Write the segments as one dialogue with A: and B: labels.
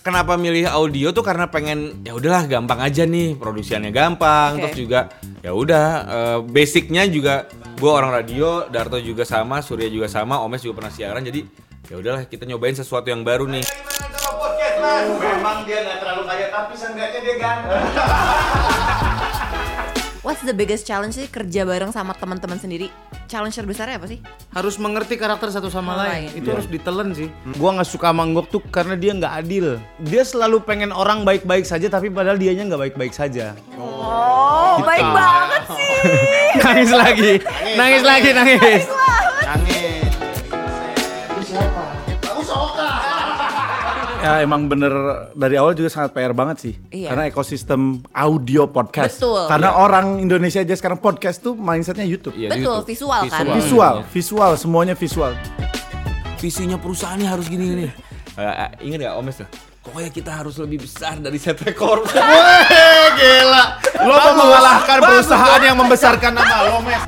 A: kenapa milih audio tuh karena pengen ya udahlah gampang aja nih produksiannya gampang
B: Oke.
A: terus juga ya udah eh, basicnya juga gue orang radio Darto juga sama Surya juga sama Omes juga pernah siaran jadi ya udahlah kita nyobain sesuatu yang baru nih
C: Memang dia nggak terlalu kaya, tapi seenggaknya dia ganteng.
B: What's the biggest challenge sih kerja bareng sama teman-teman sendiri? Challenge terbesarnya apa sih?
D: harus mengerti karakter satu
B: Sama
D: sama lain.
B: lain.
D: Itu harus ditelen sih. Iya. Hmm. Gua nggak suka Manggok tuh karena dia nggak adil. Dia selalu pengen orang baik-baik saja tapi padahal dianya nggak baik-baik saja.
B: Oh, baik banget sih.
D: nangis lagi. Nangis lagi, nangis.
C: Nangis. Siapa? Aku Soka.
E: Ya emang bener dari awal juga sangat PR banget sih.
B: Iya.
E: Karena ekosistem audio podcast.
B: Betul.
E: Karena orang Indonesia aja sekarang podcast tuh mindsetnya YouTube.
A: Iya, YouTube.
B: Betul, visual kan?
E: Visual, visual, semuanya visual.
A: visinya perusahaannya harus gini gini ingat gak Omes tuh pokoknya kita harus lebih besar dari Setre Corp
D: Wah, gila.
E: Lo mau mengalahkan perusahaan yang membesarkan nama lo, Mes.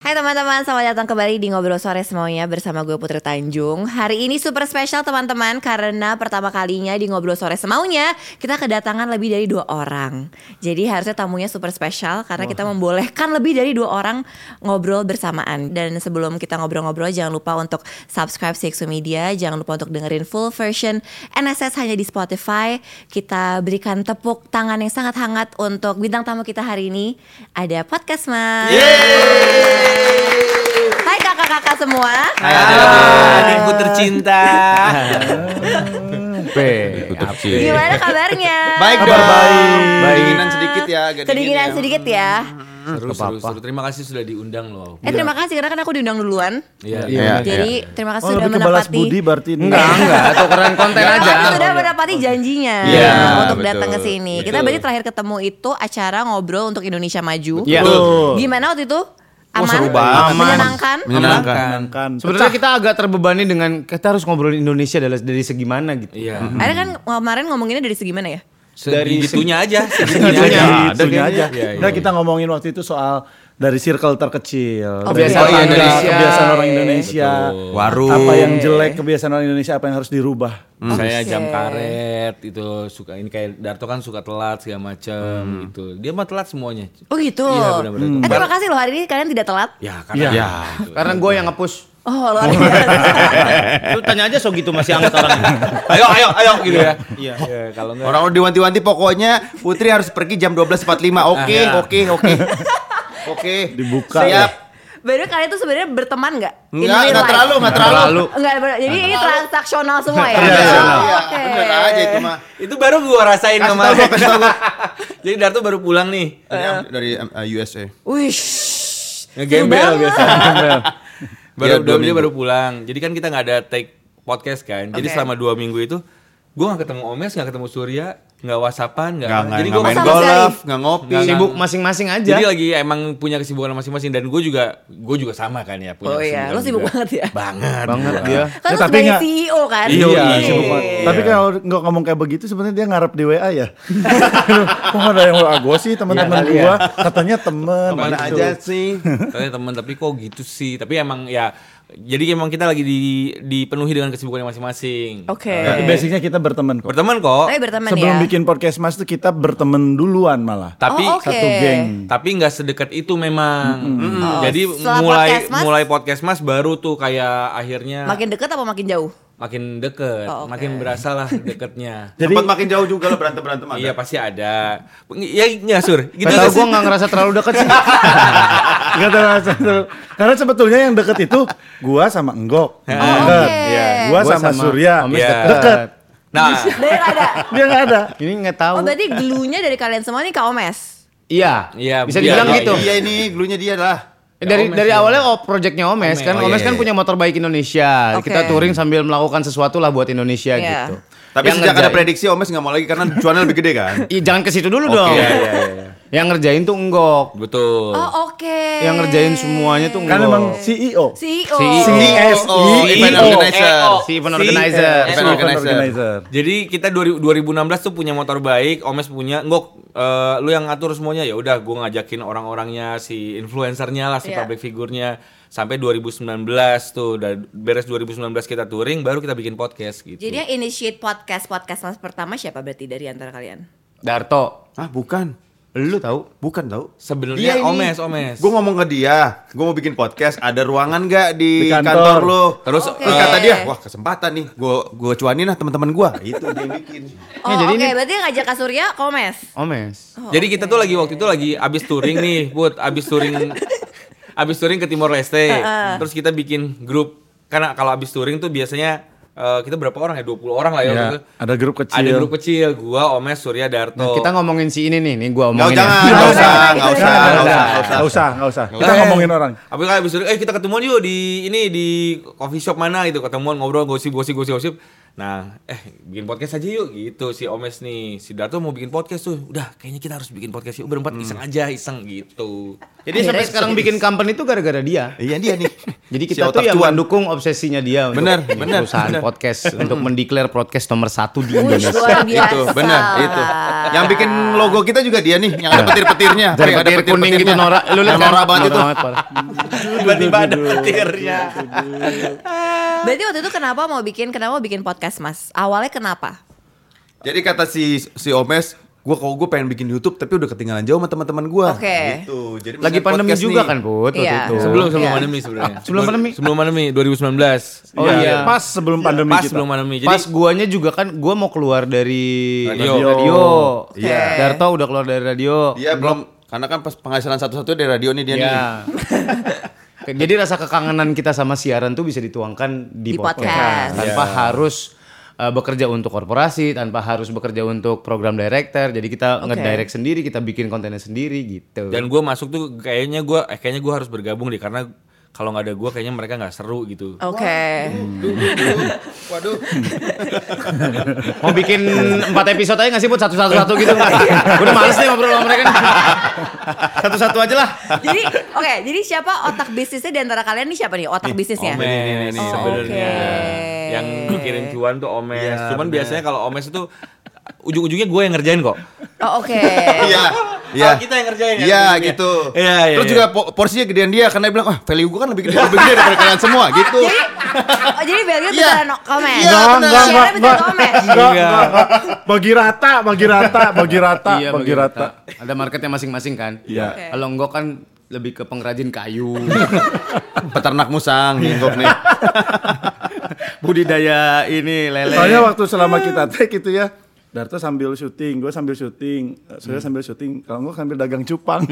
B: Hai teman-teman, selamat datang kembali di Ngobrol Sore semuanya bersama gue Putri Tanjung Hari ini super spesial teman-teman karena pertama kalinya di Ngobrol Sore semaunya Kita kedatangan lebih dari dua orang Jadi harusnya tamunya super spesial karena kita membolehkan lebih dari dua orang ngobrol bersamaan Dan sebelum kita ngobrol-ngobrol jangan lupa untuk subscribe CXO Media Jangan lupa untuk dengerin full version NSS hanya di Spotify Kita berikan tepuk tangan yang sangat hangat untuk bintang tamu kita hari ini Ada Podcast Mas Hai kakak-kakak semua.
A: adikku tercinta
B: Gimana kabarnya?
C: Baik dong. Baik. Dinginan sedikit ya, agak
B: Kedinginan
C: dingin ya.
B: sedikit ya.
A: seru seru seru terima kasih sudah diundang loh
B: Eh terima kasih karena kan aku diundang duluan.
A: Iya.
E: Iya.
B: Jadi terima kasih
E: Oh,
B: sudah
E: lebih ke balas
B: menepati.
E: budi berarti Iya. ini.
D: Enggak, enggak, atau keren Ya, konten
B: Terima
D: aja.
B: kasih sudah menepati janjinya
C: Iya,
B: untuk
C: betul.
B: datang ke sini. Kita
C: Betul.
B: berarti terakhir ketemu itu acara ngobrol untuk Indonesia Maju.
D: Iya.
E: Betul.
B: Gimana waktu itu? Aman,
D: seru banget.
B: menyenangkan.
A: menyenangkan
E: Menyenangkan.
D: Sebenarnya kita agak terbebani dengan kita harus ngobrolin Indonesia dari, dari segi mana gitu.
A: iya
B: Ada kan kemarin ngomonginnya dari segi mana ya?
A: dari gitunya aja
E: Segitunya
A: segitunya
E: segitunya aja.
A: Iya, iya.
E: Nah, kita ngomongin waktu itu soal dari circle terkecil,
B: Oh,
E: dari
B: kebiasaan
E: tetangga,
D: orang Indonesia.
E: kebiasaan orang Indonesia,
F: Warung.
E: apa yang jelek kebiasaan orang Indonesia, apa yang harus dirubah.
A: saya
B: Oke.
A: jam karet itu suka ini kayak Darto kan suka telat segala macem gitu dia mah telat semuanya
B: Oh gitu.
A: Iya, benar-benar.
B: Eh terima kasih loh hari ini kalian tidak telat.
A: ya karena
E: Iya.
D: Karena gue yang nge-push.
B: Oh luar biasa.
D: Lu tanya aja so gitu masih anget orang.
A: ayo ayo ayo gitu ya iya kalau enggak
C: Orang udah diwanti-wanti pokoknya Putri harus pergi jam 12.45.
D: Ah,
C: Oke,
D: iya.
C: oke, oke. Oke.
E: Dibuka
C: Siap.
B: Baru kalian tuh sebenarnya berteman nggak? In
C: Enggak,
B: real
C: enggak
B: life?
C: terlalu, enggak terlalu.
B: Enggak, ber- jadi ini transaksional semua ya?
C: Iya,
B: Oh,
C: iya.
B: oke.
C: Bener aja itu mah.
A: itu baru gua rasain
C: Kasih
A: sama
C: tau gua, kasih tau gua.
A: jadi Darto baru pulang nih
C: Dari, dari
B: Iya.
C: eh, USA.
B: Wih,
A: ngegembel biasa
C: Iya,
A: baru Ya, dua
C: dua
A: minggu
C: minggu.
A: baru pulang jadi kan kita nggak ada take podcast kan jadi
B: Oke.
A: selama dua minggu itu gue nggak ketemu Omes nggak ketemu Surya nggak whatsappan nggak
F: Nggak-
A: jadi
F: nggak
A: gue
F: main
B: Sama
C: Golf,
B: sekali.
C: nggak ngopi.
A: Nggak-
D: Sibuk masing-masing aja.
A: jadi lagi emang punya kesibukan masing-masing dan gue juga gue juga sama kan ya punya
B: Oh iya,
A: kesibukan
B: lu sibuk
A: juga.
B: banget ya?
A: banget Nah,
E: banget
A: gua.
E: dia.
B: Kan
E: Ya,
B: lu
E: tapi
B: sebagai
E: nggak-
B: CEO kan?
A: Iya,
E: Iya,
A: Iya.
E: sibuk banget.
A: Iya.
E: Tapi kalau nggak ngomong kayak begitu sebenarnya dia ngarep di WA ya. Kok nggak ada yang WA gue sih teman-teman
D: kali ya.
E: gua katanya temen.
A: Teman
E: gitu.
C: aja sih.
A: Tanya teman tapi kok gitu sih tapi emang ya jadi emang kita lagi di, dipenuhi dengan kesibukan masing-masing
B: Oke.
E: Tapi basicnya kita berteman kok.
A: berteman kok
B: Tapi berteman
E: Sebelum
B: ya?
E: bikin podcast mas tuh kita berteman duluan malah.
A: tapi
B: Oh, oke.
E: Satu geng.
A: tapi nggak sedekat itu memang Hmm.
B: Oh,
A: jadi
B: setelah
A: mulai
B: podcast Mas-
A: mulai podcast mas baru tuh kayak akhirnya
B: Makin dekat apa makin jauh?
A: makin deket,
B: Oh, oke.
A: makin berasa lah deketnya.
E: Jadi-
C: Sempat makin jauh juga lo berantem-berantem ada.
A: iya pasti ada. Ya nggak sur. Gitu
D: Gitu Padahal
A: nggak
D: gue
A: sih?
D: nggak ngerasa terlalu deket sih.
E: Gak terasa seru. Karena sebetulnya yang deket itu gua sama Enggok. deket.
B: oke.
E: Iya. Gua,
D: Gua
E: sama,
D: sama
E: Surya.
C: Oh,
D: Omes
E: Iya.
A: deket.
E: Deket.
A: Nah,
B: Dari ada.
E: Dia gak ada.
D: Ini nggak tahu.
B: Oh berarti gelunya dari kalian semua nih Kak Omes?
D: Iya.
A: Iya,
D: Bisa
A: iya,
D: dibilang
A: iya,
D: gitu.
C: Iya ini glunya dia lah.
D: Eh, Dari
A: Omes
D: dari
A: ya.
D: awalnya oh projectnya Omes,
A: Omes.
D: kan
A: Oh,
D: Omes
A: iya,
D: kan
A: iya.
D: punya motor baik Indonesia.
B: Oke.
D: Kita touring sambil melakukan sesuatu lah buat Indonesia
B: Iya.
D: gitu.
F: Tapi
D: yang
F: sejak ada
D: ngerjain.
F: prediksi Omes nggak mau lagi karena cuannya lebih gede kan.
D: Ih, Iya, jangan ke situ dulu
F: Oke,
D: dong.
F: iya, iya, iya.
D: Yang ngerjain tuh enggok.
A: Betul.
B: Oh oke. E
D: Yang ngerjain semuanya tuh E
E: Kan
D: Wow.
E: emang CEO.
B: CEO.
F: Oh, event
E: CEO.
F: organizer.
D: Si event
E: Eh,
D: organizer.
E: E
F: event organizer.
A: Jadi kita 2000 2016 tuh punya motor baik, Omes punya ngok eh, lu yang ngatur semuanya ya udah gua ngajakin orang-orangnya si influencernya lah si
B: Iya.
A: public figurnya sampai 2019 tuh dan beres 2019 kita touring baru kita bikin podcast gitu.
B: Jadi yang initiate podcast podcast mas pertama siapa berarti dari antara kalian?
D: Darto,
F: Ah, bukan.
D: lu tahu?
F: Bukan tau.
A: sebenarnya
F: Dia ini.
A: Omes Omes.
F: Gue ngomong ke dia, gue mau bikin podcast, ada ruangan gak di,
E: Di kantor.
F: kantor. lo?
A: Terus,
B: Oke.
F: Terus kata dia, wah kesempatan nih, gue gua cuanin lah teman-teman gue. Itu dia yang bikin.
B: Oh
D: Ya, jadi
B: oke
D: ini-
B: berarti yang ngajak Kak Surya Komes.
D: Omes.
B: Oh,
A: Jadi kita
B: oke.
A: tuh lagi waktu itu lagi abis touring nih, buat abis touring, abis touring ke Timor Leste. Terus kita bikin grup karena kalau abis touring tuh biasanya eh, kita berapa orang ya? 20 orang lah ya.
E: Ya,
A: waktu itu.
E: ada grup kecil.
A: Ada grup kecil. Gua, Omes, Surya, Darto.
D: Nah, kita ngomongin si ini nih, nih gua
F: Gak
D: omongin. ya.
F: jangan, gak usah, gak usah,
E: Nggak
F: gak usah,
E: usah,
F: nggak
E: nggak
F: usah.
E: usah, nggak usah. Kita ngomongin orang.
A: Tapi kan abis touring, eh kita ketemuan yuk di ini di coffee shop mana gitu, ketemuan ngobrol gosip gosip gosip gosip. Nah, eh bikin podcast aja yuk gitu si Omes nih. Si Darto mau bikin podcast tuh. Udah, kayaknya kita harus bikin podcast yuk. Berempat
E: Hmm.
A: iseng aja, iseng gitu.
D: Jadi sampai sekarang bikin company itu gara-gara dia.
F: Iya dia nih.
D: Jadi
F: Si
D: kita
F: otak
D: tuh yang
F: cuan.
D: mendukung obsesinya dia untuk
F: Benar,
D: bikin
F: benar,
D: perusahaan
F: benar.
D: podcast untuk mendeklar podcast nomor satu di
B: Wih,
D: Indonesia.
B: luar biasa.
F: Iya, Itu, benar, itu. Yang bikin logo kita juga dia nih, yang ada petir-petirnya.
D: Dari
F: Yang ada
D: Iya. petir kuning gitu
F: petir-petirnya.
D: Nora, lu lihat
F: Yang Nora banget itu.
A: Tiba-tiba ada petirnya.
B: Berarti waktu itu kenapa mau bikin kenapa mau bikin podcast mas? Awalnya kenapa?
F: Jadi kata si si Omes, gue kalau gue pengen bikin YouTube tapi udah ketinggalan jauh sama teman-teman gue.
B: Oke.
F: Gitu. Jadi
D: Lagi
F: mendingan
D: pandemi
F: podcast
D: juga
F: nih.
D: kan, Put, waktu
B: Iya.
D: itu.
A: Sebelum sebelum
B: Iya.
A: pandemi sebenarnya.
D: sebelum pandemi?
A: Sebelum pandemi 2019.
D: Oh,
E: Iya,
D: iya.
E: Pas sebelum pandemi
A: Pas
E: kita.
A: sebelum pandemi. Jadi
D: Pas guanya juga kan gua mau keluar dari
A: Radio. Iya,
D: radio.
F: Iya.
D: Darto udah keluar dari radio.
F: Dia belum karena kan pas penghasilan satu-satunya dari radio nih dia
B: Iya.
F: nih.
D: Ya. Jadi rasa kekangenan kita sama siaran tuh bisa dituangkan di,
B: Di podcast.
D: tanpa
A: Iya.
D: harus uh, bekerja untuk korporasi, tanpa harus bekerja untuk program director. Jadi kita
B: Oke.
D: ngedirect sendiri, kita bikin kontennya sendiri gitu.
A: dan gue masuk tuh kayaknya gue eh, kayaknya gue harus bergabung deh karena kalau nggak ada gue kayaknya mereka nggak seru gitu.
B: Oke.
F: Waduh.
D: mau bikin empat episode aja nggak sih buat satu-satu satu gitu?
B: Iya.
D: Gue udah males nih ngobrol sama mereka. Satu-satu aja lah.
B: jadi oke, jadi siapa otak bisnisnya di antara kalian nih siapa nih otak bisnisnya?
A: Omes
F: Ini, ini, ini.
A: sebenarnya
B: oke.
A: yang mikirin cuan tuh Omes.
F: Iya,
A: Cuman
F: bener.
A: biasanya kalau Omes itu ujung-ujungnya gue yang ngerjain kok.
B: Oh, oke.
F: Iya. Iya.
A: Oh, kita yang ngerjain ya,
F: Iya
A: ujung-ujungnya.
F: gitu.
A: Iya, iya,
F: Terus
A: iya.
F: juga po- porsinya gedean dia karena dia bilang, "Wah, value gue kan lebih gede, lebih gede daripada kalian semua." Gitu.
B: Jadi, oh, jadi Belgia
F: Iya.
B: beneran komen.
F: Iya,
E: Enggak,
F: benar.
E: enggak, enggak,
B: Siaran
E: enggak.
B: beneran komen.
E: Enggak, enggak, enggak. Bagi rata, bagi rata, bagi rata,
D: Iya,
E: bagi rata.
D: Ada marketnya masing-masing kan.
E: Iya.
B: Oke.
D: Kalau enggak kan lebih ke pengrajin kayu,
F: Peternak musang nginggok nih.
D: budidaya ini lele.
E: Soalnya waktu selama kita take itu ya, Darto sambil syuting, gue sambil syuting, eh, Surya sambil syuting, kalau gue sambil dagang cupang.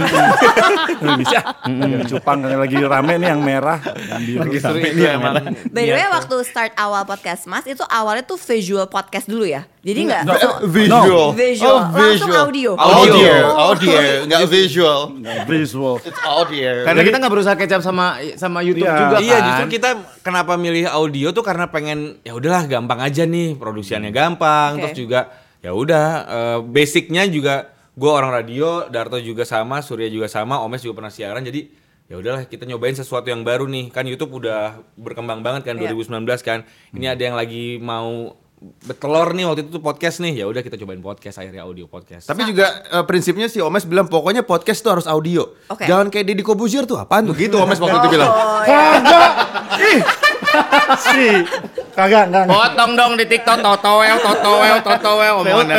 E: Lu Bisa, dagang cupang yang lagi rame nih yang merah, yang biru.
A: Lagi seru
E: Hmm. Rame
A: itu
E: nih yang
A: emang.
E: merah.
B: By the way,
F: Iya.
B: waktu start awal podcast Mas itu awalnya tuh visual podcast dulu ya. Jadi nggak langsung
F: Visual.
B: Visual.
F: Oh,
B: Langsung audio.
F: Audio.
B: Oh.
F: Audio, enggak visual. Kan-
E: Visual.
F: It's audio.
D: Karena kita nggak berusaha kecap sama sama YouTube
E: Iya.
D: juga kan.
A: Iya justru kita kenapa milih audio tuh karena pengen ya udahlah gampang aja nih produksiannya gampang
B: Oke.
A: terus juga ya udah eh, basicnya juga gue orang radio Darto juga sama Surya juga sama Omes juga pernah siaran jadi ya udahlah kita nyobain sesuatu yang baru nih kan YouTube udah berkembang banget kan
B: Iya. Hmm.
A: 2019 kan ini ada yang lagi mau betelor nih waktu itu tuh podcast nih ya udah kita cobain podcast akhirnya audio podcast
F: Tapi juga eh, prinsipnya si Omes bilang pokoknya podcast tuh harus audio.
B: Oke.
F: Jangan kayak Deddy Kobuzier tuh apaan tuh gitu Omes waktu itu bilang.
E: Kagak. Ih. Si. Kagak, enggak. enggak.
D: Potong dong di TikTok totoel totoel totoel omongan.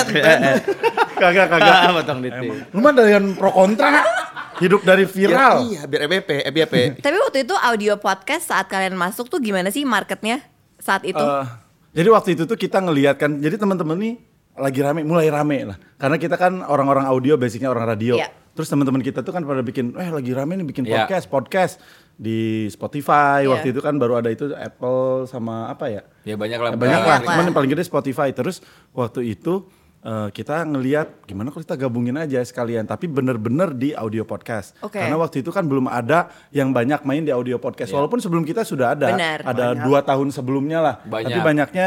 E: Kagak, kagak.
D: Ah, Potong di TikTok.
E: Lu mah dengan pro kontra. Hidup dari
F: Iya,
E: viral.
F: iya, biar EBP, EBP.
B: Tapi waktu itu audio podcast saat kalian masuk tuh gimana sih marketnya saat itu?
E: Eh, jadi waktu itu tuh kita ngelihat kan, jadi teman-teman nih lagi rame, mulai rame lah. Karena kita kan orang-orang audio, basicnya orang radio.
B: Iya.
E: Terus teman-teman kita tuh kan pada bikin, eh lagi rame nih bikin
A: Iya.
E: podcast, podcast di Spotify.
B: Iya.
E: Waktu itu kan baru ada itu Apple sama apa ya?
A: ya banyak lah
E: banyak
B: Banyak
E: lah,
B: lah.
E: cuman yang paling gede Spotify. Terus waktu itu eh, kita ngelihat gimana kalau kita gabungin aja sekalian, tapi bener-bener di audio podcast.
B: Oke.
E: Karena waktu itu kan belum ada yang banyak
A: Iya.
E: main di audio podcast. Walaupun sebelum kita sudah ada,
B: Benar.
E: ada dua tahun sebelumnya lah.
A: Banyak.
E: Tapi banyaknya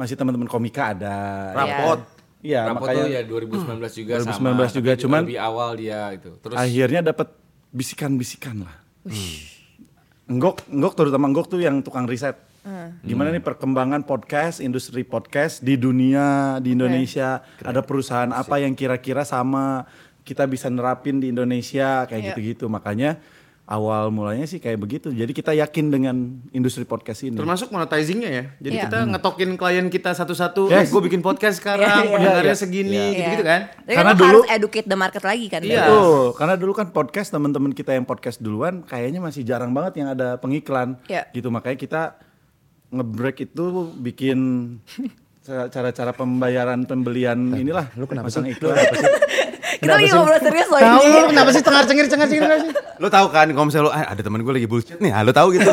E: masih teman-teman komika ada.
A: Rapot.
E: Iya,
A: Rapot
E: makanya
A: tuh ya 2019
E: Hmm.
A: juga
E: 2019 juga,
A: tapi
E: cuman-
A: lebih awal dia itu. Terus
E: akhirnya dapat bisikan-bisikan lah. Enggok, Enggok terutama Enggok tuh yang tukang riset. Gimana nih perkembangan podcast, industri podcast di dunia, di Indonesia. Ada perusahaan apa yang kira-kira sama kita bisa nerapin di Indonesia kayak gitu-gitu. Makanya awal mulanya sih kayak begitu. Jadi kita yakin dengan industri podcast ini.
D: Termasuk monetizingnya ya. Jadi
B: Iya.
D: kita ngetokin klien kita satu-satu. Eh,
E: Yes.
D: gue bikin podcast
B: Iya,
D: sekarang,
B: iya,
D: pendengarnya
E: iya.
D: segini,
B: Iya.
D: gitu-gitu kan.
B: Tapi
E: Karena
B: kan lo
E: dulu-
B: harus educate the market lagi kan. Bel?
D: Iya.
E: Betul, karena dulu kan podcast teman-teman kita yang podcast duluan kayaknya masih jarang banget yang ada pengiklan
B: Iya.
E: gitu makanya kita ngebreak itu bikin ca- cara-cara pembayaran pembelian inilah Eh, lu kenapa sih iklan
B: Kita lagi ngobrol serius loh
D: Tahu
B: ini.
D: lu kenapa sih cengar-cengir cengar-cengir
B: Iya.
D: kenapa sih?
F: Lo tahu kan kalau misalnya lo "Ah, ada teman gue lagi bullshit nih, ah, lo tahu gitu.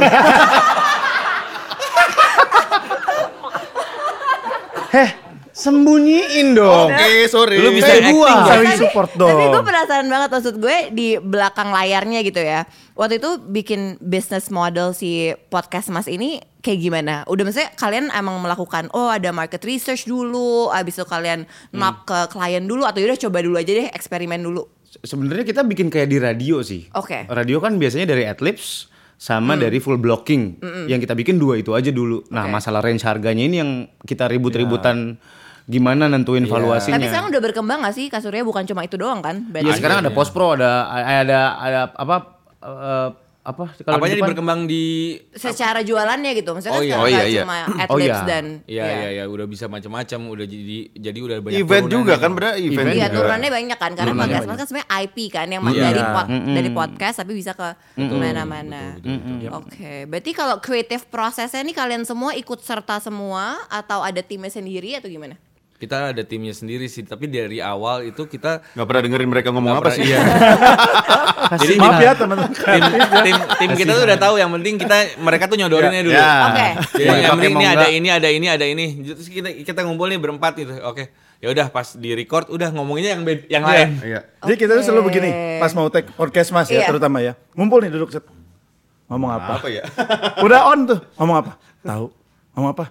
D: Heh, sembunyiin dong.
F: Oke, sorry.
A: Lu bisa
D: Kayak gua.
A: acting.
E: saling support dong
B: Tapi gue penasaran banget maksud gue di belakang layarnya gitu ya. Waktu itu bikin business model si podcast Mas ini kayak gimana? Udah maksudnya kalian emang melakukan oh ada market research dulu, abis itu kalian
D: Hmm.
B: knock ke klien dulu atau udah coba dulu aja deh eksperimen dulu.
D: Se- Sebenarnya kita bikin kayak di radio sih.
B: Oke.
D: Radio kan biasanya dari Adlibs sama dari full blocking. Yang kita bikin dua itu aja dulu. Nah,
B: Oke.
D: masalah range harganya ini yang kita ribut-ributan
A: Iya.
D: gimana nentuin valuasinya.
B: Tapi sekarang udah berkembang gak sih kasurnya bukan cuma itu doang kan?
D: Iya, sekarang ada post pro, ada ada ada apa eh, apa kalau
A: apanya di
D: di depan?
A: berkembang di
B: secara jualannya gitu. Maksudnya
A: Oh
B: kan
A: iya,
B: sekarang
F: oh iya,
B: nggak
F: iya.
B: cuma
D: Oh iya.
B: adlibs dan
A: Iya iya ya, udah bisa macam-macam, udah jadi jadi udah banyak gitu.
F: event
A: turunannya.
F: juga kan, beda event.
B: Iya
F: juga.
B: turunannya banyak kan karena podcast podcast kan sebenarnya IP kan yang dari pod- dari podcast tapi bisa ke mana-mana. Oke, berarti kalau creative prosesnya nih kalian semua ikut serta semua atau ada timnya sendiri atau gimana?
A: Kita ada timnya sendiri sih, tapi dari awal itu kita
F: Gak pernah dengerin mereka ngomong apa
A: Nggak
F: sih.
A: pernah- Iya. Jadi
E: maaf ya teman-teman
A: tim tim, tim kita tuh udah tahu yang penting kita mereka tuh nyodorinnya dulu.
F: Ya.
B: Oke.
A: Jadi
D: Mau
A: yang
D: dipakai,
A: penting
D: mau
A: ini ada
D: nggak.
A: ini ada ini ada ini. Terus kita kita ngumpul nih berempat gitu. Oke. Ya udah pas di record udah ngomonginnya yang bed- yang lain.
F: Iya.
E: Jadi kita tuh selalu begini pas mau take podcast mas ya
B: Iya.
E: terutama ya ngumpul nih duduk set ngomong apa
F: Apa ya?
E: udah on tuh ngomong apa tahu ngomong apa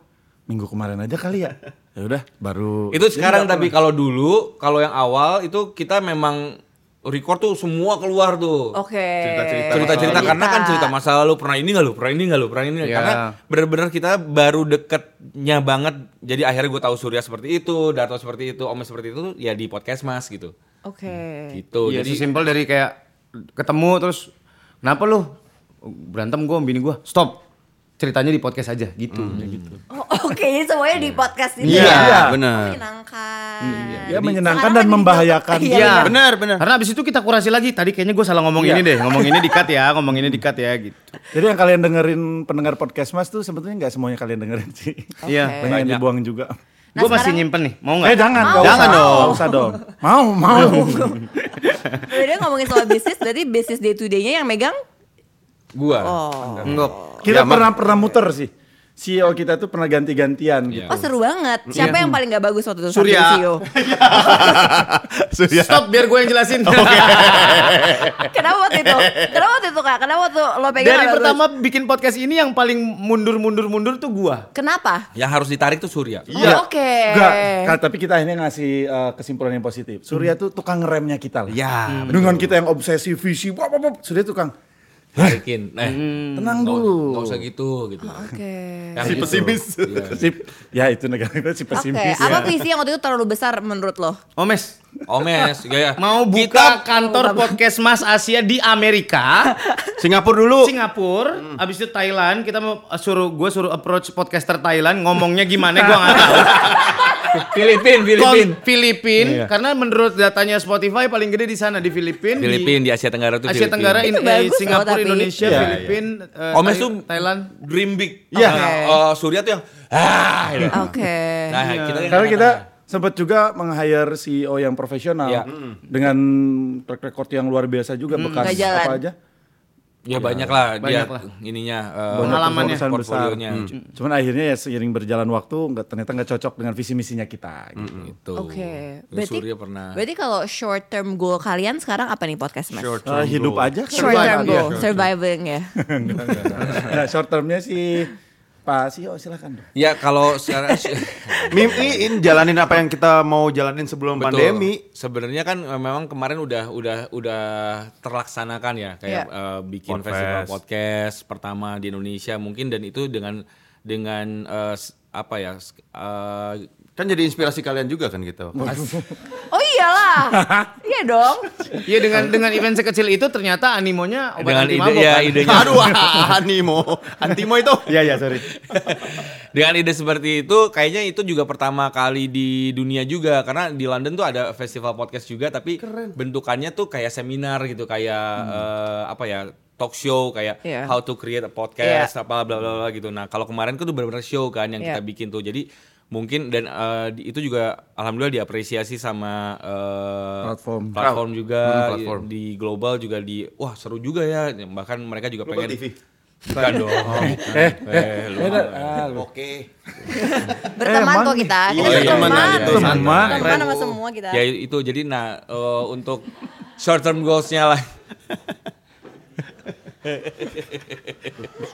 E: minggu kemarin aja kali ya ya udah baru
A: Itu sekarang tapi kalau dulu kalau yang awal itu kita memang record tuh semua keluar tuh.
B: Oke.
F: Cerita-cerita.
A: cerita-cerita karena kan cerita masa lalu pernah ini nggak lu pernah ini nggak lu pernah ini nggak?
D: Iya.
A: karena benar-benar kita baru deketnya banget jadi akhirnya gue tahu Surya seperti itu Darto seperti itu Omes seperti itu tuh ya di podcast mas gitu
B: Oke.
A: gitu
D: Iya,
A: jadi
D: sesimpel dari kayak ketemu terus kenapa lu berantem gua sama bini gua. Stop. Ceritanya di podcast aja gitu.
A: Hmm.
D: Kayak gitu.
B: Oh, Oke, jadi semuanya di podcast ini.
F: Iya,
B: ya?
F: benar.
B: Menyenangkan.
E: ya menyenangkan
B: Sekarang
E: dan
B: kan jadi-
E: membahayakan
B: Iya.
D: Iya,
F: Benar, benar.
D: Karena abis itu kita kurasi lagi. Tadi kayaknya gua salah ngomong
A: Iya.
D: ini deh. Ngomong ini dikat ya, ngomong ini dikat ya gitu.
E: jadi yang kalian dengerin pendengar podcast mas tuh sebetulnya nggak semuanya kalian dengerin sih
D: Iya.
B: Oke.
E: banyak yang dibuang juga
B: Nah,
D: gua masih
B: sekarang-
D: nyimpen nih. Mau nggak?
E: eh jangan nggak
D: Jangan
E: usah,
D: dong.
E: nggak usah dong mau mau
B: Udah ngomongin soal bisnis, berarti bisnis day to day-nya yang megang
A: gue
B: Oh.
F: Enggak.
E: kita
F: Ya,
E: pernah pernah muter sih CEO kita tuh pernah ganti-gantian gitu
B: Oh seru banget. Siapa yang paling gak bagus waktu itu?
D: Surya.
B: sampai CEO?
F: Surya.
D: Stop biar gue yang jelasin.
B: Kenapa waktu itu? Kenapa waktu itu kak? Kenapa waktu lo pegang
D: Dari
B: gak bagus?
D: pertama bikin podcast ini yang paling mundur-mundur-mundur tuh gua.
B: Kenapa?
A: yang harus ditarik tuh Surya
D: Iya.
B: Oh, Oke.
E: Enggak, ka- tapi kita akhirnya ngasih eh, kesimpulan yang positif. Surya tuh tukang remnya kita lah.
A: Iya,
D: Iya,
F: Ya,
E: Hmm. Dengan kita yang obsesi visi, wop, wop, wop, Surya tukang
A: tarikin eh
D: Hmm.
E: tenang
A: nggak-
E: dulu.
A: nggak usah gitu gitu
B: Oke.
A: Yang
F: Si
A: gitu.
F: pesimis.
A: Iya.
E: Sip. Ya itu negara kita si
B: Oke.
E: pesimis.
B: Apa visi yang waktu itu terlalu besar menurut lo?
D: Omes,
A: Omes ya, ya.
D: mau
A: Kita-
D: buka kantor podcast Mas Asia di Amerika,
F: Singapura
A: Oh.
F: dulu.
D: Singapura, habis itu Thailand, kita mau eh, suruh gue suruh approach podcaster Thailand ngomongnya gimana gua nggak tahu.
A: Filipin Filipin
D: Filipin, Filipin,
E: Iya.
D: karena menurut datanya Spotify paling gede di sana di Filipin, di
A: Filipin di Asia Tenggara tuh
D: Asia
A: Filipin.
D: Tenggara,
B: Itu
D: in,
B: bagus
D: eh,
B: loh,
D: Singapura,
B: tapi.
D: Indonesia,
E: Iya,
D: Filipin, eh,
A: Omes
D: Thai-
A: tuh
D: Thailand. Iya.
A: dream big
E: Iya.
A: Nah, eh, Surya tuh yang ah gitu.
B: Oke.
A: nah kita yang
E: Karena kita sempat juga meng-hire CEO yang profesional
A: Iya.
E: dengan track record yang luar biasa juga bekas
B: Hmm, Nggak jalan.
E: apa aja.
A: Ya, banyak lah
D: banyak
A: dia
D: lah.
A: ininya eh,
E: Iya. Banyak
B: ya.
D: Pengalamannya.
E: urusan besar.
A: portfolionya
E: Hmm. Cuman akhirnya ya seiring berjalan waktu nggak ternyata nggak cocok dengan visi misinya kita. gitu.
A: itu.
B: Oke. Berarti
A: Berarti Surya pernah
B: Berarti kalau short term goal kalian sekarang apa nih podcast Mas?
A: Short.
F: Ah,
E: Eh, hidup aja.
B: Short term
E: survive aja.
B: goal, surviving ya.
E: Nah, short termnya sih Pak Sio silahkan dong.
A: Ya kalau secara
F: Mimpiin jalanin apa yang kita mau jalanin sebelum
A: Betul.
F: pandemi.
A: Sebenarnya kan eh, memang kemarin udah udah udah terlaksanakan ya kayak eh, bikin
F: Podcast.
A: festival podcast pertama di Indonesia mungkin dan itu dengan dengan eh, s- apa ya s- eh,
F: Kan jadi inspirasi kalian juga kan gitu.
B: Oh iyalah. iya dong.
D: Iya dengan dengan event sekecil itu ternyata animonya
A: dengan
D: obat anti
A: ide
D: mabok
A: ya
D: kan?
A: idenya
F: Aduh, animo, antimo itu.
C: Iya iya sorry.
A: dengan ide seperti itu kayaknya itu juga pertama kali di dunia juga karena di London tuh ada festival podcast juga tapi bentukannya tuh kayak seminar gitu kayak eh, apa ya talk show kayak
B: Iya.
A: how to create a podcast apa bla bla bla gitu nah kalau kemarin kan tuh benar-benar show kan yang
B: Iya.
A: kita bikin tuh jadi mungkin dan eh, di- itu juga alhamdulillah diapresiasi sama eh,
E: Platform.
A: platform juga
F: Hmm, platform.
A: di global juga di wah seru juga ya bahkan mereka juga
F: Global
A: pengen
F: TV.
A: bukan dong
E: Eh,
A: eh, lu
E: Eh, dah, ah, lu.
F: Oke.
B: Berteman
E: Emang
B: kok kita.
F: iya,
B: Kita berteman.
F: teman aja,
B: Berteman
E: teman.
B: sama semua kita.
A: Ya
D: Iya.
A: itu jadi nah eh, untuk short term goalsnya lah.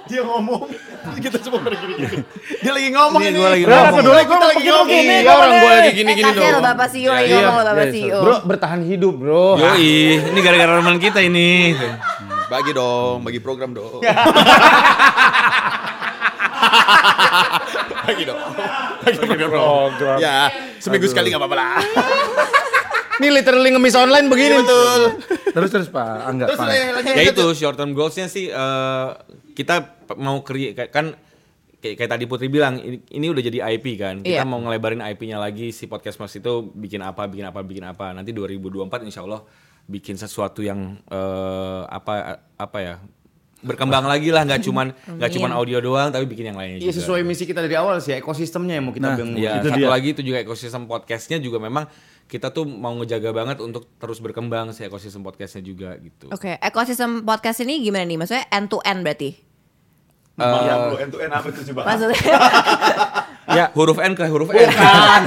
F: Dia ngomong, kita semua pergi Dia lagi ngomong ini.
A: gua lagi
E: Nah,
A: ngomong.
E: kedua gua lagi
F: Kita
E: ngomong.
F: gini,
D: Iya orang gue lagi
B: Eh,
D: gini-gini
B: kasihan
D: dong.
B: loh Bapak CEO lagi
D: Iya,
B: ngomong sama Bapak
E: iya,
B: CEO.
D: Bro bertahan hidup bro.
A: Yoi, Oh. ini gara-gara teman kita ini.
F: Bagi dong, bagi program dong. bagi dong. Bagi program. Ya, seminggu sekali nggak apa-apa lah.
D: Ini literally ngemis online begini.
F: Betul.
E: Terus terus Pak Angga
F: Terus
E: Pak.
F: eh, lanjut.
A: ya itu short term goalsnya sih eh, kita p- mau create kayak- kan kayak, kayak tadi Putri bilang ini, ini udah jadi IP kan kita
B: Iya.
A: mau ngelebarin IP-nya lagi si podcast mas itu bikin apa bikin apa bikin apa nanti 2024 Insya Allah bikin sesuatu yang eh, apa apa ya berkembang lagi lah nggak cuman nggak cuman audio doang tapi bikin yang lainnya
D: Iya
A: juga.
D: sesuai misi kita dari awal sih ya, ekosistemnya yang mau kita bangun.
A: Ya,
E: Itu
A: satu
E: dia.
A: lagi itu juga ekosistem podcastnya juga memang kita tuh mau ngejaga banget untuk terus berkembang si ekosistem podcastnya juga gitu.
B: Oke, ekosistem podcast ini gimana nih? Maksudnya end to end berarti?
F: Iya, lu end-to-end apa itu coba?
B: Maksudnya
E: Ya.
A: Huruf N ke huruf N. Bukan.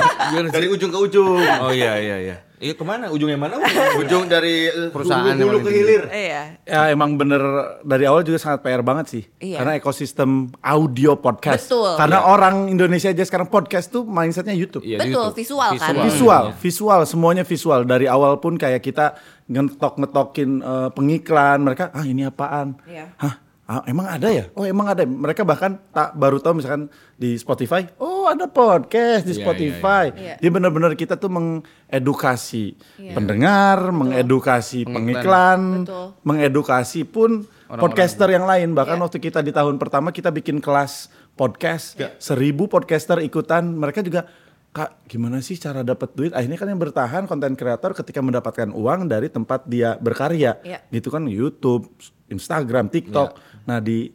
F: Dari ujung ke ujung.
A: oh iya iya iya. Iya kemana? Ujungnya mana?
F: Ujung dari
D: Perusahaan
F: perusahaan
D: yang
F: hulu
D: paling
F: ke
D: tinggi.
F: hilir.
B: iya.
E: Ya emang bener dari awal juga sangat PR banget sih.
B: Iya.
E: Karena ekosistem audio podcast.
B: Betul.
E: Karena orang Indonesia aja sekarang podcast tuh mindsetnya YouTube.
A: Iya,
B: Betul,
A: gitu.
B: visual kan?
E: Visual, visual semuanya visual dari awal pun kayak kita ngetok-ngetokin eh, pengiklan mereka ah ini apaan?
B: Iya.
E: Hah? Ah, emang ada ya? Oh emang ada. Mereka bahkan tak baru tahu misalkan di Spotify, oh ada podcast
A: Iya,
E: di
A: iya,
E: Spotify.
B: iya.
E: Jadi benar-benar kita tuh mengedukasi pendengar, mengedukasi pengiklan,
B: Betul.
E: mengedukasi pun podcaster yang lain. Bahkan waktu kita di tahun pertama kita bikin kelas podcast, seribu podcaster ikutan. Mereka juga Kak, gimana sih cara dapat duit? Akhirnya kan yang bertahan konten kreator ketika mendapatkan uang dari tempat dia berkarya.
B: Iya.
E: Gitu kan YouTube, Instagram, TikTok. Nah, di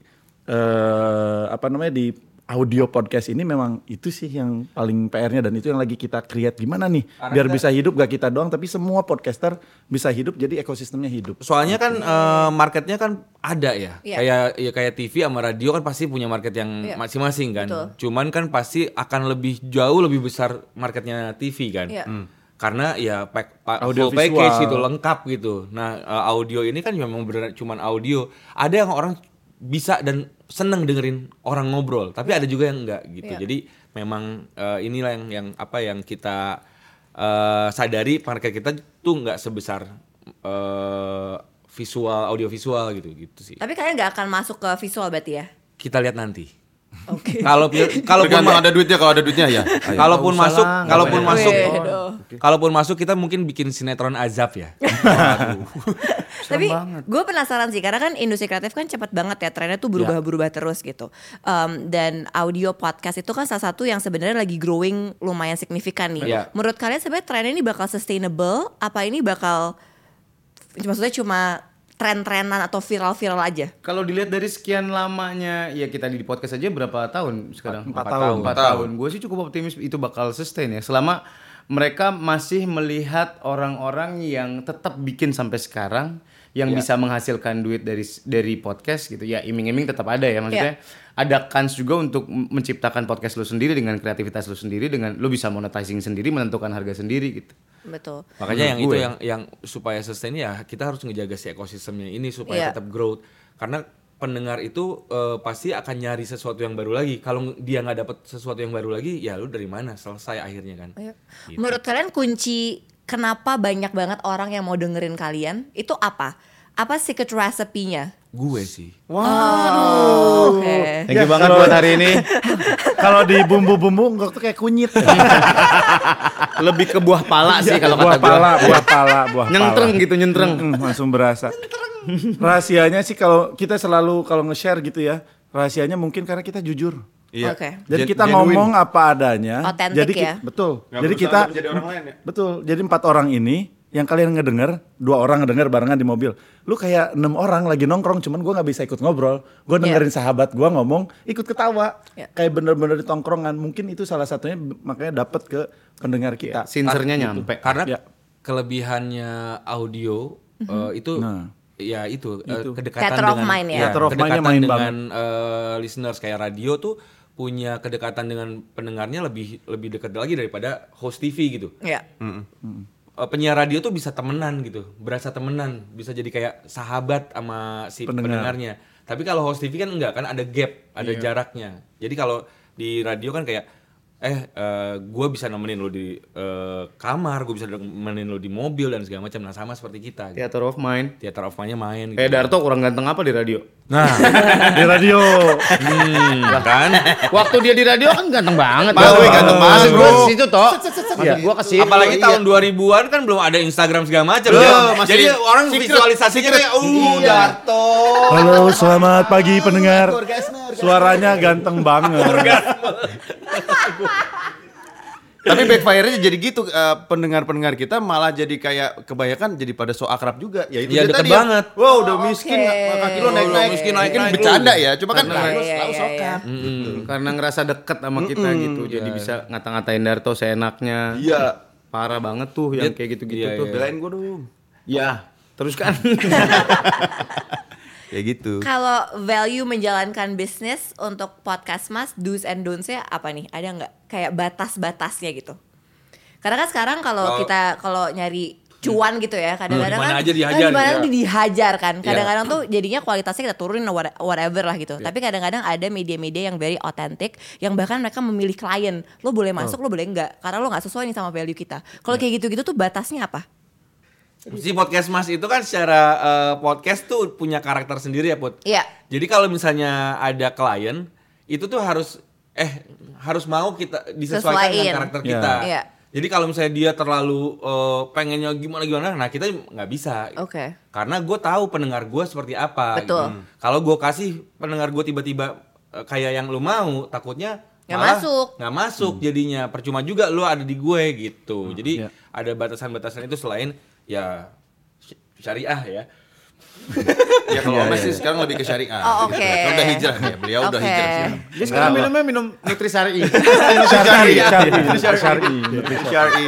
E: eh, apa namanya di audio podcast ini memang itu sih yang paling PR-nya dan itu yang lagi kita create gimana nih biar bisa hidup gak kita doang tapi semua podcaster bisa hidup jadi ekosistemnya hidup.
A: Soalnya kan eh, marketnya kan ada ya.
B: Iya.
A: Kayak ya kayak TV sama radio kan pasti punya market yang
B: Iya.
A: masing-masing kan.
B: Betul.
A: Cuman kan pasti akan lebih jauh lebih besar marketnya TV kan.
B: Iya.
A: Hmm. Karena ya pack, pa-
E: Audio
A: full package
E: visual.
A: itu lengkap gitu. Nah, eh, audio ini kan memang benar cuman audio. Ada yang orang bisa dan seneng dengerin orang ngobrol, tapi ada juga yang enggak gitu. Jadi memang eh, inilah yang yang apa yang kita eh, sadari market kita tuh enggak sebesar eh, visual audio visual gitu gitu sih.
B: Tapi kalian nggak akan masuk ke visual berarti ya?
A: Kita lihat nanti.
B: Oke.
A: Kalau kalau
F: Tergantung ada duitnya, kalau ada duitnya ya. Ayo.
A: kalaupun masuk, kalaupun
B: Waduh.
A: masuk, kalaupun masuk kita mungkin bikin sinetron azab ya.
B: Tapi gue penasaran sih karena kan industri kreatif kan cepat banget ya trennya tuh berubah-berubah terus gitu. Em, dan audio podcast itu kan salah satu yang sebenarnya lagi growing lumayan signifikan nih.
A: Iya.
B: Menurut kalian sebenarnya trennya ini bakal sustainable? Apa ini bakal maksudnya cuma tren-trenan atau viral-viral aja?
D: Kalau dilihat dari sekian lamanya ya kita di podcast aja berapa tahun sekarang?
E: Empat tahun.
D: Empat tahun. Gue sih cukup optimis itu bakal sustain ya. Selama mereka masih melihat orang-orang yang tetap bikin sampai sekarang yang bisa menghasilkan duit dari dari podcast gitu. Ya iming-iming tetap ada ya maksudnya. Ada kans juga untuk m- menciptakan podcast lu sendiri dengan kreativitas lu sendiri dengan lu bisa monetizing sendiri, menentukan harga sendiri gitu.
B: Betul.
A: Makanya yang
D: Menurut
A: itu
D: gue.
A: yang yang supaya sustain ya kita harus ngejaga si ekosistemnya ini supaya
B: Iya.
A: tetap growth. Karena pendengar itu eh, pasti akan nyari sesuatu yang baru lagi. Kalau dia nggak dapet sesuatu yang baru lagi, ya lu dari mana? Selesai akhirnya kan.
B: Ayo. Iya. Menurut kalian kunci kenapa banyak banget orang yang mau dengerin kalian itu apa? Apa secret recipe-nya?
A: Gue sih.
B: Oke.
D: Thank you banget buat hari ini.
E: Kalau di bumbu-bumbu enggak tuh kayak kunyit.
D: Lebih ke buah pala Iya sih kalau kata
E: buah
D: Iya. gue.
E: pala, buah pala, buah pala.
D: Nyentreng gitu, nyentreng.
E: Mm, langsung berasa. Rahasianya sih kalau kita selalu kalau nge-share gitu ya, rahasianya mungkin karena kita jujur.
F: Iya.
B: Oke.
E: Jadi
F: Gen-
E: kita
F: genuine.
E: ngomong apa adanya.
B: Otentik
E: jadi ki-
B: ya.
E: Betul.
F: Nggak
E: jadi
F: berusaha
E: kita
F: untuk menjadi orang lain ya?
E: Betul. Jadi empat orang ini yang kalian ngedenger, dua orang ngedenger barengan di mobil. Lu kayak enam orang lagi nongkrong, cuman gua nggak bisa ikut ngobrol. Gua dengerin sahabat gua ngomong, ikut ketawa.
B: Iya.
E: Kayak bener-bener di tongkrongan. Mungkin itu salah satunya b- makanya dapat ke pendengar kita.
F: Iya.
D: Sincernya nyampe.
A: Karena
E: Ya.
A: kelebihannya audio eh, itu
E: Nah.
A: ya itu, eh, kedekatan
B: Mhm. Theater of
A: dengan
B: mind ya.
E: Theater of
A: kedekatan
E: mind-nya main
A: dengan eh, listeners kayak radio tuh punya kedekatan dengan pendengarnya lebih lebih dekat lagi daripada host TV gitu.
B: Ya.
A: Eh, penyiar radio tuh bisa temenan gitu, berasa temenan, bisa jadi kayak sahabat sama si
E: Pendengar.
A: pendengarnya. Tapi kalau host TV kan enggak kan ada gap, ada jaraknya. Jadi kalau di radio kan kayak eh gue bisa nemenin lo di eh, kamar, gue bisa nemenin lo di mobil dan segala macam. Nah sama seperti kita.
F: Iya.
A: Gitu.
D: Theater of mind.
A: Theater of mind-nya main. Gitu.
D: Eh Darto kurang ganteng apa di radio?
E: Nah, di radio.
A: Hmm, kan?
D: Waktu dia di radio kan ganteng banget.
F: Mas,
D: Bro.
F: wih, ganteng banget,
D: Maksud gua
F: bro.
D: ke situ toh. Maksud gua ke situ.
A: Apalagi
D: iya.
A: tahun 2000-an kan belum ada Instagram segala macam.
F: Loh,
A: ya.
F: Iya, masih
A: Jadi orang
F: secret,
A: visualisasinya
F: secret.
A: kayak uh
F: Iya.
A: Darto.
E: Halo, selamat pagi pendengar. Suaranya ganteng banget.
F: Tapi backfire-nya jadi gitu eh, pendengar-pendengar kita malah jadi kayak kebanyakan jadi pada so akrab juga. Ya itu
A: Iya,
F: dia
A: deket
F: tadi ya.
A: banget.
F: Wow, udah miskin
B: Oke.
F: nggak- kaki lo naik-naik.
A: Udah miskin, naik-naik
F: Mungkin bercanda
A: lu.
F: ya, cuma kan Mm.
D: Karena-
F: lu
B: Iya,
F: selalu
B: iya,
F: sokap.
D: Hmm. Karena ngerasa deket sama kita gitu. Jadi bisa ngata-ngatain Darto seenaknya.
F: Iya.
D: Parah banget tuh yang kayak gitu-gitu
A: Iya,
D: tuh.
A: iya.
F: Belain gue dong.
D: Ya. Terus kan.
F: Ya gitu.
B: Kalau value menjalankan bisnis untuk podcast Mas, do's and don'ts-nya apa nih? Ada nggak kayak batas-batasnya gitu? Karena kan sekarang kalau
A: Kalau-
B: kita kalau nyari cuan gitu ya kadang-kadang
A: Dimana
B: kan
A: aja dihajar gitu
B: dimana
A: ya.
B: di- dihajar kan kadang-kadang tuh jadinya kualitasnya kita turunin what- whatever lah
A: Iya.
B: gitu tapi kadang-kadang ada media-media yang very authentic yang bahkan mereka memilih klien lo boleh masuk lo boleh enggak karena lo nggak sesuai nih sama value kita
A: Iya.
B: kalau kayak gitu-gitu tuh batasnya apa
A: Si podcast Mas itu kan secara eh, podcast tuh punya karakter sendiri ya Put.
B: Iya.
A: Jadi kalau misalnya ada klien, itu tuh harus eh harus mau kita disesuaikan
B: Sesuaiin.
A: dengan karakter
E: Iya.
A: kita.
B: Iya.
A: Jadi kalau misalnya dia terlalu eh, pengennya gimana gimana, nah kita nggak bisa.
B: Oke.
A: Karena gue tahu pendengar gue seperti apa. gitu.
B: Betul.
A: Kalau gue kasih pendengar gue tiba-tiba eh, kayak yang lu mau, takutnya
B: Nggak
A: malah
B: masuk.
A: nggak masuk jadinya percuma juga lu ada di gue gitu jadi
E: iya.
A: ada batasan-batasan itu selain ya sy- syariah ya
F: Ya kalau Omes sih sekarang lebih ke syariah.
B: Oh,
F: gitu.
B: oke.
F: Udah hijrah ya, beliau udah
B: Oke.
F: hijrah sih.
D: Dia sekarang minumnya minum nutrisari.
E: Syari, syari,
F: Syari.
E: syari.
F: Syari.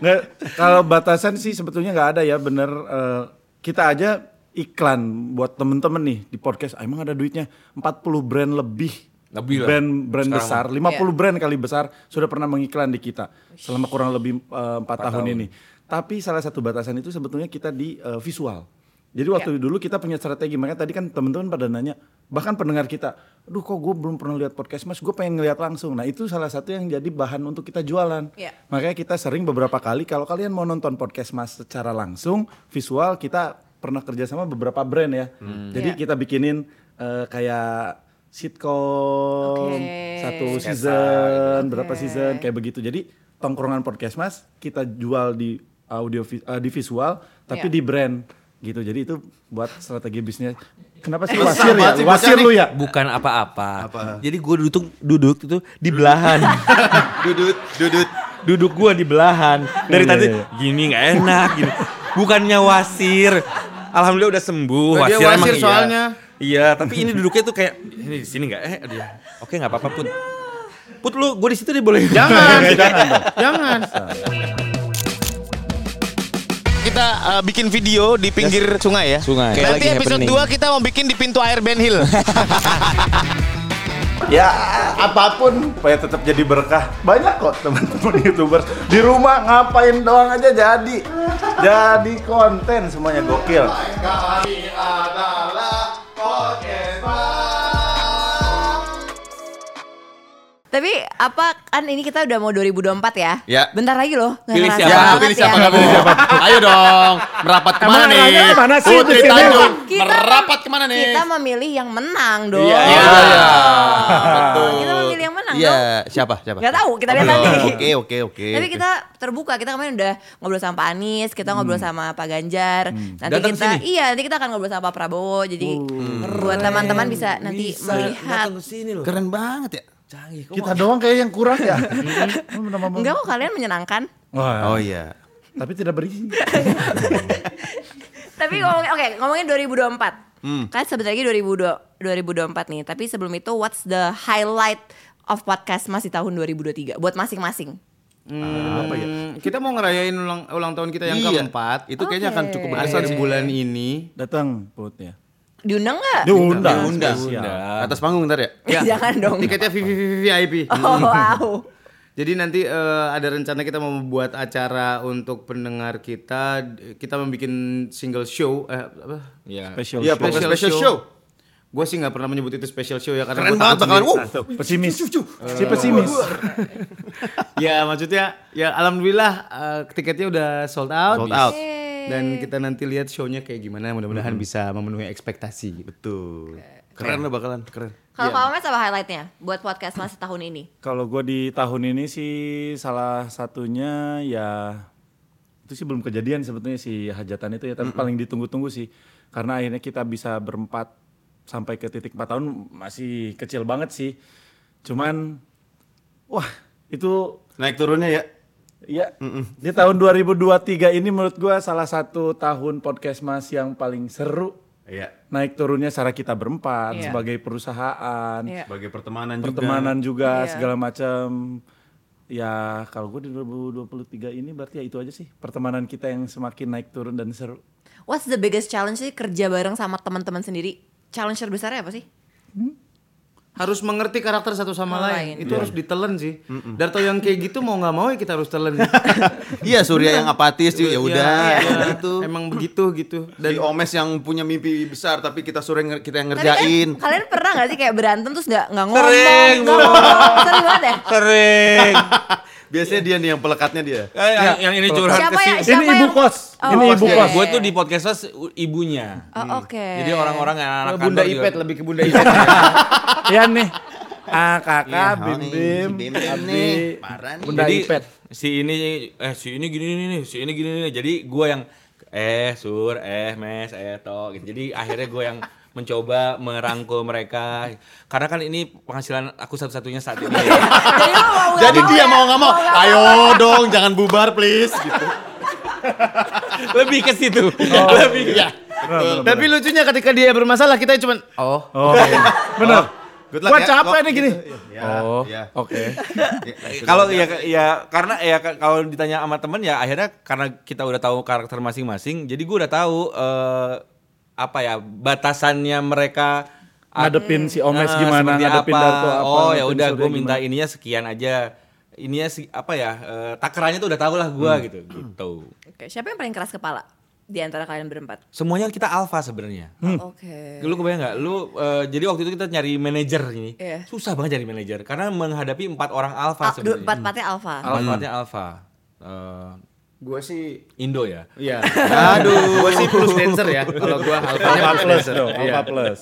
E: Nggak, kalau batasan sih sebetulnya nggak ada ya, bener. eh, kita aja iklan buat temen-temen nih di podcast. ah, Emang ada duitnya 40 brand lebih.
A: Lebih lah.
E: Brand brand
A: Sekarang.
E: besar, 50 brand kali besar sudah pernah mengiklan di kita selama kurang lebih 4, tahun, ini. Tapi salah satu batasan itu sebetulnya kita di eh, visual. Jadi waktu dulu kita punya strategi, makanya tadi kan teman-teman pada nanya, bahkan pendengar kita, aduh kok gue belum pernah lihat podcast mas, gue pengen ngeliat langsung. Nah itu salah satu yang jadi bahan untuk kita jualan.
B: Iya.
E: Makanya kita sering beberapa kali kalau kalian mau nonton podcast Mas secara langsung visual kita pernah kerja sama beberapa brand ya. Jadi
B: Iya.
E: kita bikinin eh, kayak sitkom
B: Oke.
E: satu season, berapa season kayak begitu. Jadi tongkrongan podcast Mas kita jual di audio vi- eh, di visual tapi
B: Iya.
E: di brand gitu. Jadi itu buat strategi bisnis. Kenapa sih
F: Besar
E: wasir ya?
F: banget sih
E: Wasir
F: bacaan
E: lu ya?
A: bukan apa-apa jadi gue duduk duduk itu di belahan
F: Dudut, dudut.
A: duduk gue di belahan dari tadi gini nggak enak gini bukannya wasir alhamdulillah udah sembuh
D: Nah, dia
A: wasir, emang
D: wasir
A: iya.
D: soalnya.
A: iya tapi ini duduknya tuh kayak ini di sini nggak eh aduh ya. oke nggak apa-apa put put lu gue di situ deh boleh
D: Jangan. Jangan.
G: kita uh, bikin video di pinggir sungai ya.
H: Sungai. Kayak
G: Nanti
H: lagi
G: episode
H: happening.
G: 2 kita mau bikin di pintu air Ben Hill.
E: ya apapun supaya tetap jadi berkah banyak kok teman-teman youtuber di rumah ngapain doang aja jadi jadi konten semuanya gokil
B: Tapi apa kan ini kita udah mau 2024 ya?
F: Ya.
B: Bentar lagi loh. nggak
A: Pilih
B: kerasa
A: siapa?
B: banget ya.
F: pilih siapa kamu? Ayo dong, merapat kemana
E: Emang
F: nih?
E: arahnya kemana sih?
F: Putri
E: Di sini.
F: Tanjung,
B: Kita- kan
F: merapat kemana nih?
B: Kita memilih yang menang dong.
F: Iya, iya, betul.
B: Kita memilih yang menang
F: Iya,
B: dong.
F: siapa? Siapa?
B: Nggak tahu, kita lihat
F: Oh,
B: nanti.
F: Oke, oke, oke.
B: Tapi kita terbuka. Kita kemarin udah ngobrol sama Pak Anies, kita
F: Hmm.
B: ngobrol sama Pak Ganjar. Nanti
A: Datang
B: kita
A: sini.
B: iya, nanti kita akan ngobrol sama Pak Prabowo. Jadi
F: Oh.
B: buat teman-teman bisa nanti melihat.
A: datang ke sini loh.
F: keren banget ya.
A: Canggih. kok
E: kita doang kayak yang kurang ya
B: Enggak kok kalian menyenangkan.
E: Wah,
F: Oh iya.
E: tapi tidak berisi
B: Tapi ngomongin oke, ngomongin 2024. Kan sebentar lagi 2002 2024 nih, tapi sebelum itu what's the highlight of podcast Mas di tahun 2023 buat masing-masing?
F: Hmm.
D: apa ya? Kita mau ngerayain ulang, ulang tahun kita yang
F: Iya.
D: keempat.
F: Itu kayaknya akan cukup
B: Oke.
F: berkesan
D: Akhir
F: sih.
D: bulan ini.
E: datang putnya
B: Diundang nggak?
E: diundang
F: Diundang.
E: Spesial.
F: Atas panggung ntar ya?
B: Jangan dong.
D: Iya. Tiketnya VIP.
B: Oh, wow.
D: Jadi nanti eh, ada rencana kita mau membuat acara untuk pendengar kita. Kita membuat single show. Eh, apa?
A: Iya.
E: special
F: Iya,
E: show.
F: pokoknya special show.
D: Gue sih nggak pernah menyebut itu special show ya karena
F: Keren
D: gua
F: banget
D: takut
F: bakalan.
D: sendiri.
F: Wow.
E: pesimis si pesimis
D: Ya maksudnya ya alhamdulillah eh, tiketnya udah sold out.
F: Sold out. Hmm.
D: Dan kita nanti lihat shownya kayak gimana. Mudah-mudahan bisa memenuhi ekspektasi. gitu.
F: Betul. Keren lah bakalan, keren.
B: Kalau Pak Omes apa highlightnya buat podcast Mas tahun ini?
E: Kalau gue di tahun ini sih salah satunya ya itu sih belum kejadian sebetulnya si hajatan itu ya tapi paling ditunggu-tunggu sih karena akhirnya kita bisa berempat sampai ke titik 4 tahun masih kecil banget sih. Cuman wah itu
F: Naik turunnya ya.
E: ya di tahun 2023 ini menurut gue salah satu tahun podcast Mas yang paling seru
F: Iya.
E: naik turunnya secara kita berempat
B: Iya.
E: sebagai perusahaan
B: Iya.
F: Sebagai pertemanan,
E: pertemanan juga,
B: Iya.
E: segala macam ya kalau gue di 2023 ini berarti ya itu aja sih pertemanan kita yang semakin naik turun dan seru
B: What's the biggest challenge sih kerja bareng sama teman-teman sendiri? Challenge terbesarnya apa sih?
D: harus mengerti karakter satu
B: Sama
D: sama lain.
B: lain.
D: Itu harus ditelen sih. Darto yang kayak gitu mau nggak mau ya kita harus telen.
F: juga. Iya, Surya yang apatis yuk,
E: Iya,
F: ya udah.
D: Ya,
F: Ya,
D: itu.
F: Itu.
D: Emang begitu gitu. Dan
F: Dan Omes yang punya mimpi besar tapi kita suruh yang- kita yang
B: Tapi kan
F: ngerjain.
B: kalian pernah gak sih kayak berantem terus gak, nggak ngomong?
A: Sering,
B: nggak ngomong. Sering banget ya?
A: Kering.
F: Biasanya dia nih yang pelekatnya dia.
A: Eh, yang, yang ini curhat
B: Siapa
A: ke si
B: ya? Siapa
E: ini ibu
B: yang-
E: kos
B: Oh,
E: ini ibu
B: oke.
E: kos
A: Gue tuh di podcast Mas, u- ibunya.
B: Oh, oke.
A: Hmm. Jadi orang-orang yang anak
D: Bunda
A: kantor juga-
D: Ipet lebih ke Bunda Ipet.
E: ya nih ah kakak bim
F: nih,
E: bim
F: si Bim Bim
E: Abi
F: nih, parah nih.
E: bunda
A: Jadi ah,
E: ipet
A: si ini eh si ini gini nih nih, si ini gini nih. Jadi gue yang eh sur eh mes eh to gitu. Jadi akhirnya gue yang mencoba merangkul mereka karena kan ini penghasilan aku satu-satunya saat ini.
B: Jadi lu mau nggak
F: Jadi dia
B: ya?
F: mau nggak mau, ayo dong jangan bubar please. Gitu.
A: Lebih ke situ.
E: Oh.
A: Lebih ke-
D: Tapi lucunya ketika dia bermasalah kita cuma oh
E: oh benar
F: Good luck
E: gua
F: ya.
E: capek
F: Gua-
E: nih gini
F: Ya,
E: oh
F: ya.
E: oke
A: Kalau ya ya karena ya ka- kalau ditanya sama temen ya akhirnya karena kita udah tahu karakter masing-masing, jadi gue udah tahu eh, apa ya batasannya mereka
E: ngadepin si omes
A: Eh,
E: gimana
A: seperti
E: ngadepin
A: apa.
E: darto apa
A: Oh ya
E: ngadepin
A: udah
E: Surya
A: gue minta
E: gimana.
A: ininya sekian aja. Ininya si apa ya eh, takarannya tuh udah tau lah gue
E: Hmm.
A: gitu gitu.
B: Oke, siapa yang paling keras kepala di antara kalian berempat?
A: Semuanya kita alfa sebenarnya.
B: Oke.
A: Lu kebayang nggak? Lu eh, jadi waktu itu kita nyari manajer ini.
B: Iya. Ah,
A: Susah banget cari manajer karena menghadapi empat orang alfa
B: Al- du-
A: sebenarnya.
B: Empat-empatnya Alfa.
A: Alfa-nya alfa. Eh,
D: gue sih
A: Indo ya.
D: Iya. Aduh, gue sih plus dancer ya. Kalau gue halfanya plus
E: Alpha plus
D: dancer.
E: dong,
D: Iya.
E: Alpha plus.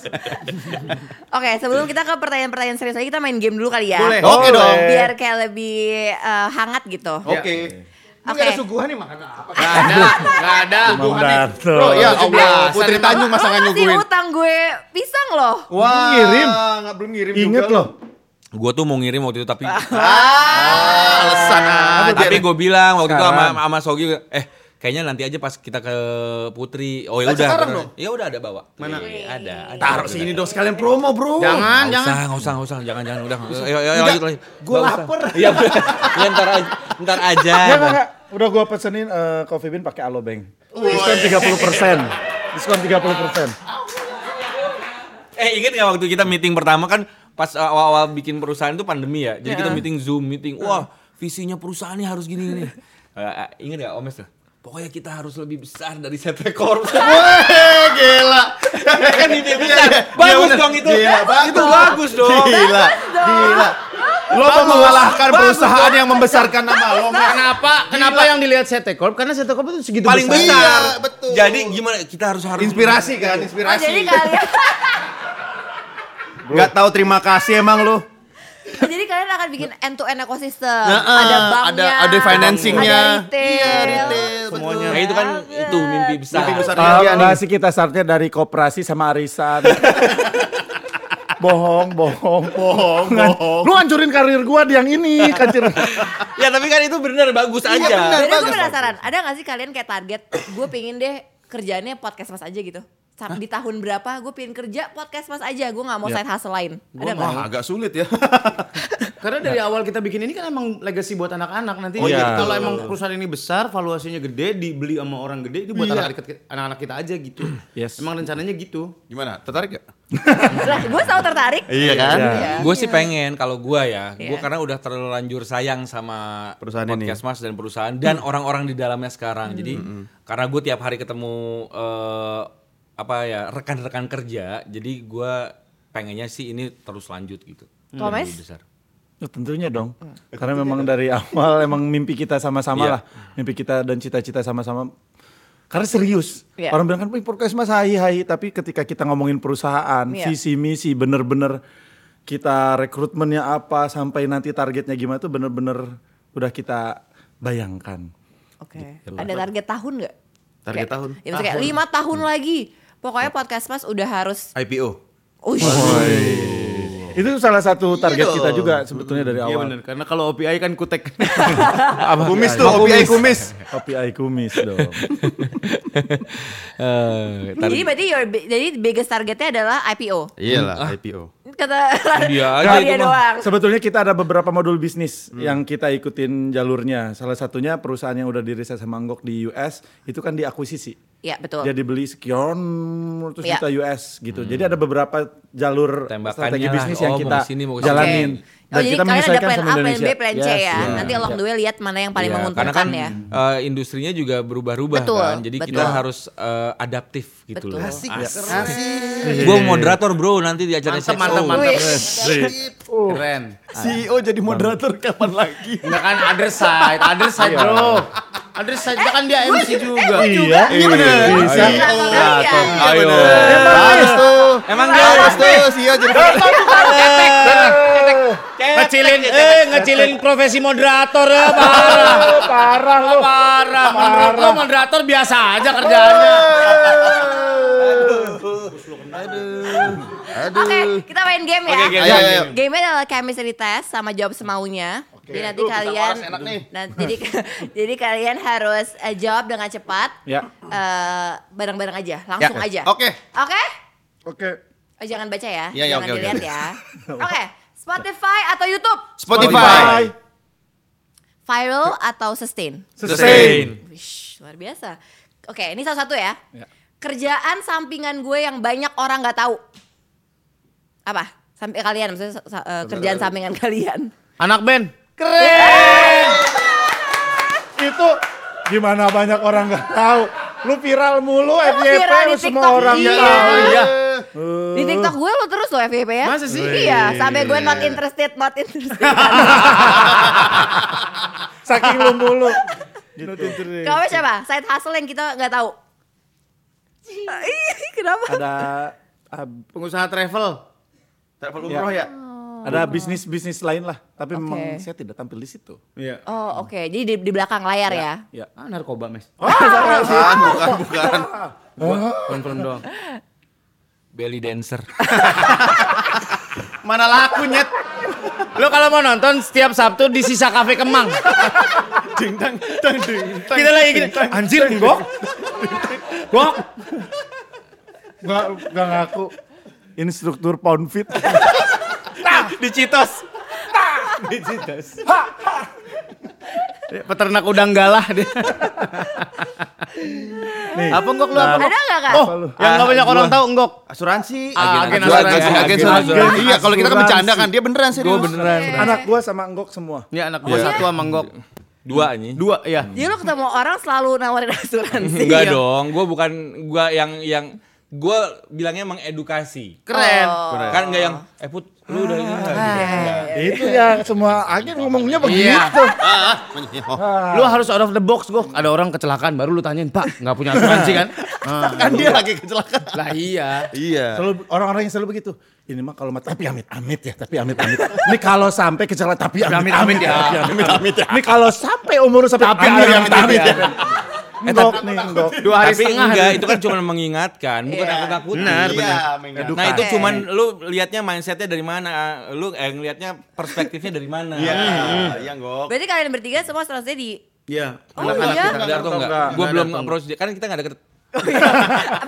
B: Oke, sebelum kita ke pertanyaan-pertanyaan serius lagi, kita main game dulu kali ya.
F: Boleh.
E: Oh.
F: Oke Oh, dong.
B: Biar kayak lebih eh, hangat gitu.
F: Oke.
B: Oke.
F: Oke. Ada suguhan nih makan apa?
D: Gak ada, gak ada.
E: Bang Darto.
F: Iya, Bro, ya Allah,
D: Belasan
F: Putri
D: emang.
F: Tanjung masa nggak
B: Lu masih
F: nyuguhin.
B: utang gue pisang loh.
F: Wah,
E: Ngirim.
F: nggak belum ngirim
E: Ingat
F: juga.
E: loh,
A: Gue tuh mau ngirim waktu itu tapi
F: Ah, alasan aja.
A: tapi gue bilang waktu itu sama
E: Sekarang.
A: sama Sogi eh kayaknya nanti aja pas kita ke Putri. Oh ya
F: Lah,
A: udah.
F: sekarang
A: bener.
F: dong?
A: Ya udah ada bawa. Mana? ada, ada.
F: taruh sini dong sekalian promo, Bro.
D: Jangan,
A: Nggak
D: jangan.
A: usah, nggak usah, nggak usah, jangan, jangan, udah, ayo, ayo, ayo,
F: Enggak,
A: lanjut, lanjut.
F: gua
A: Nggak usah.
F: lapar.
A: Iya, ya, ntar, aja- ntar aja.
E: Ya enggak, enggak. Udah gua pesenin eh, Coffee Bean pakai aloe bank. Diskon 30%. Diskon 30%.
A: Eh, inget nggak waktu kita meeting pertama kan pas awal-awal bikin perusahaan itu pandemi ya. Jadi
F: Iya.
A: kita meeting Zoom, meeting. Wah, visinya perusahaannya harus gini gini. Eh, ingat ya Omes tuh? Pokoknya kita harus lebih besar dari CT Corp.
F: gila.
A: kan ide
F: Iya,
A: besar. Bagus dong itu.
F: Gila, Iya, bagus. Iya,
A: Itu bagus dong.
F: Gila. Gila. Lo mau mengalahkan perusahaan yang membesarkan nama lo. Mas.
D: Kenapa? Kenapa yang dilihat CT Corp? Karena CT Corp itu segitu
A: Paling
D: besar.
A: besar.
F: Iya, betul.
A: Jadi gimana kita harus harus
F: Inspirasi kan,
B: Oh,
F: inspirasi.
B: jadi kalian
F: Gak tahu terima kasih emang lo.
B: Oh, jadi kalian akan bikin end to end ekosistem.
F: Nah,
B: ada
F: ah,
B: banknya,
F: ada- ada financing-nya.
B: ada retail.
F: Iya, retail,
A: Semuanya. Nah, itu kan
B: Iya.
A: itu mimpi besar.
F: Mimpi besar
E: Kalau
F: dia nih.
E: enggak sih kita startnya dari koperasi sama arisan. bohong, bohong, bohong, bohong. Lu hancurin karir gua di yang ini, kancir.
A: ya tapi kan itu benar bagus
F: Iya,
A: aja.
F: Kan
B: Beda gue penasaran, ada gak sih kalian kayak target, gue pengen deh kerjaannya podcast mas aja gitu. Sa- Di tahun berapa gue pengen kerja podcast mas aja, gue
F: Iya.
B: gak mau side hustle lain. Ada gak?
F: Wah, agak sulit ya.
D: Karena dari awal kita bikin ini kan emang legacy buat anak-anak nanti.
F: Oh, iya.
D: Jadi Kalau emang perusahaan ini besar, valuasinya gede, dibeli sama orang gede, itu
F: Iya.
D: buat anak-anak kita- anak-anak kita aja gitu.
E: Yes.
D: Emang rencananya gitu.
F: Gimana? Tertarik gak?
B: Lah, gue selalu tertarik.
F: Iya kan?
E: Ya.
A: Gue sih pengen kalau gue ya, gue
B: Iya.
A: karena udah terlanjur sayang sama
F: Perusahaan ini. Hmm.
A: podcast Mas dan perusahaan dan orang-orang di dalamnya sekarang. Jadi karena gue tiap hari ketemu eh, apa ya rekan-rekan kerja, jadi gue pengennya sih ini terus lanjut gitu.
B: Kalau Mas?
A: Lebih besar.
E: Ya, tentunya dong. Karena memang dari awal emang mimpi kita sama-sama
A: Iya.
E: lah. Mimpi kita dan cita-cita sama-sama. Karena serius.
B: Iya.
E: Orang bilang kan "Ih, podcast mas hai-hai. Tapi ketika kita ngomongin perusahaan,
B: Iya.
E: visi misi bener-bener kita rekrutmennya apa sampai nanti targetnya gimana tuh bener-bener udah kita bayangkan.
B: Oke. Ada target tahun gak?
F: Target
B: Kayak-
F: tahun. Hmm. Iya.
B: Ya, maksudnya kayak lima tahun lagi. Pokoknya podcast mas udah harus.
F: IPO.
B: Ush.
E: Oh. Itu salah satu
B: Iya
E: target kita juga sebetulnya dari
D: Iya
E: awal.
D: benar. Karena kalau OPI kan kutek.
F: Iya, Kumis tuh, OPI kumis.
E: Kopi ai kumis dong.
A: Eh, tar-
B: Jadi berarti your, bi- jadi biggest targetnya adalah IPO.
F: Iyalah, IPO.
B: Kata
A: Hmm. Dia aja
B: Kalau
A: itu
B: dia
A: mah.
B: doang.
E: Sebetulnya kita ada beberapa modul bisnis
B: Hmm.
E: yang kita ikutin jalurnya. Salah satunya perusahaan yang udah diriset sama Anggok di US itu kan diakuisisi.
B: Iya betul.
E: Dia dibeli sekian ratus
B: Iya.
E: juta US gitu. Jadi ada beberapa jalur
A: Tembakannya
E: strategi
A: lah.
E: bisnis
A: Oh,
E: yang
A: mau
E: kita
A: ke sini, mau ke sini.
E: jalanin.
B: Oke. Oh, jadi kalian ada plan A, plan B, plan C
E: Yes,
B: ya.
E: yes.
B: Nanti along the way lihat mana yang paling
A: Iya,
B: menguntungkan
A: karena kan eh,
B: ya.
A: industrinya juga berubah-ubah
B: Betul,
A: kan. Jadi kita
B: betul.
A: harus eh, adaptif gitu
B: Betul.
A: loh.
B: Asik,
A: Gue moderator bro nanti di acara
D: Mantap,
A: SXO.
F: Oh,
D: mantap, mantap.
B: Wih.
D: Keren.
F: CEO E jadi moderator kapan lagi?
D: Enggak kan other side, other side
F: Iya.
D: bro. Other side dia kan
F: Eh,
D: dia MC juga.
E: Iya, iya bener. Bisa.
B: Iya,
F: Ayo. Harus Iya, tuh.
A: Emang dia
F: Harus tuh, CEO jadi
D: Ngecilin eh ngecilin profesi moderator ya, parah.
E: Parah lu.
D: Parah, menurut lo moderator biasa aja kerjaannya.
B: Oke, kita main game ya.
A: Oke,
F: Ayo, ayo.
B: Gamenya adalah chemistry test sama jawab semaunya. Jadi nanti kalian nanti jadi jadi kalian harus eh, jawab dengan cepat.
E: Ya.
B: Eh, bareng-bareng aja, langsung
F: Ya.
B: aja.
F: Oke.
B: Oke?
E: Oke.
B: Oh, jangan baca ya.
F: Iya, iya,
B: jangan
F: oke, oke.
B: dilihat ya. Oke, Spotify atau YouTube?
F: Spotify.
B: Viral atau sustain?
A: Oh, Sustain.
B: Wish, luar biasa. Oke, ini salah satu ya. Kerjaan sampingan gue yang banyak orang nggak tahu. Apa? Sampai kalian maksudnya sa- sa- eh, kerjaan sampingan kalian.
D: Anak band.
E: Itu gimana banyak orang nggak tahu. Lu viral mulu FYP
B: viral di
E: lu semua
B: TikTok,
E: orang nggak
B: iya.
E: tahu.
D: Iya.
B: Di TikTok gue lo terus loh FYP ya.
D: Masa sih?
B: Iya, sampai gue not interested, not interested.
E: Saking lu mulu. Gitu.
B: Kamu siapa? Side hustle yang kita nggak tahu. Ih, Kenapa?
E: Ada ab-
D: Pengusaha travel.
F: Travel umroh ya.
E: ada bisnis-bisnis lain lah, tapi memang
B: Oke.
E: saya tidak tampil di situ.
B: Oh oke, jadi di, di belakang layar ya.
F: Iya.
D: Ah narkoba mes.
E: Oh,
F: Bukan, bukan, bukan.
D: Confirm doang.
A: Belly dancer.
D: Mana laku nyet. Lo kalau mau nonton setiap Sabtu di sisa kafe Kemang. Kita lagi gini. Anjir gok. Gok.
E: Nggak, nggak ngaku. Instruktur pound fit.
D: Nah. Peternak udang galah dia.
E: Nih.
D: Apa ngok lu apa? Ngok?
B: Ada nggak kak?
D: Oh, yang nggak banyak orang tahu ngok.
F: Asuransi.
D: Ah, agen
A: asuransi.
D: asuransi.
A: Agen
F: Agen
A: asuransi.
F: asuransi. Iya, kalau kita kan
E: Asuransi.
F: bercanda kan dia beneran serius.
A: Gue beneran.
E: Anak gua sama Enggok semua.
D: Ini anak gua satu sama ngok.
A: Dua anjing.
D: Dua, iya.
B: Jadi lo ketemu orang selalu nawarin asuransi.
A: Enggak
B: ya?
A: dong, gue bukan gue yang yang gue bilangnya mengedukasi.
D: Keren.
B: Oh.
A: Kan enggak yang eh put lu udah
B: Ah.
A: ini Gitu. enggak?" Enggak.
E: Itu ya semua agen ngomongnya
B: Oh.
E: begitu.
D: Iya.
B: gitu?
D: Ah, Lu harus out of the box, Gok. Ada orang kecelakaan baru lu tanyain, "Pak, nggak punya asuransi kan?" Ah,
F: Kan dia lagi kecelakaan.
D: lah iya.
F: Iya.
E: Selalu orang-orang yang selalu begitu. Ini mah kalau mah tapi amit-amit ya, tapi amit-amit. Ini kalau sampai kecelakaan tapi amit-amit ya. Tapi Amit-amit ya. Ini kalau sampai umur lu sampai tapi amit-amit ya.
A: Eh,
E: Enggak nih, enggak.
D: Dua hari
A: Tapi
D: setengah.
A: enggak, itu kan cuma mengingatkan, bukan
B: Iya.
A: nakut-nakutin.
F: Iya,
D: Benar, benar.
F: benar.
A: Nah itu cuman lu liatnya mindsetnya dari mana, lu eh ngeliatnya perspektifnya dari mana. Gitu.
F: Iya, iya Ngok.
B: Berarti kalian bertiga semua asuransinya di
A: Iya.
B: Oh iya?
A: Kita enggak atau enggak? Gue belum approach dia, kan kita enggak deket.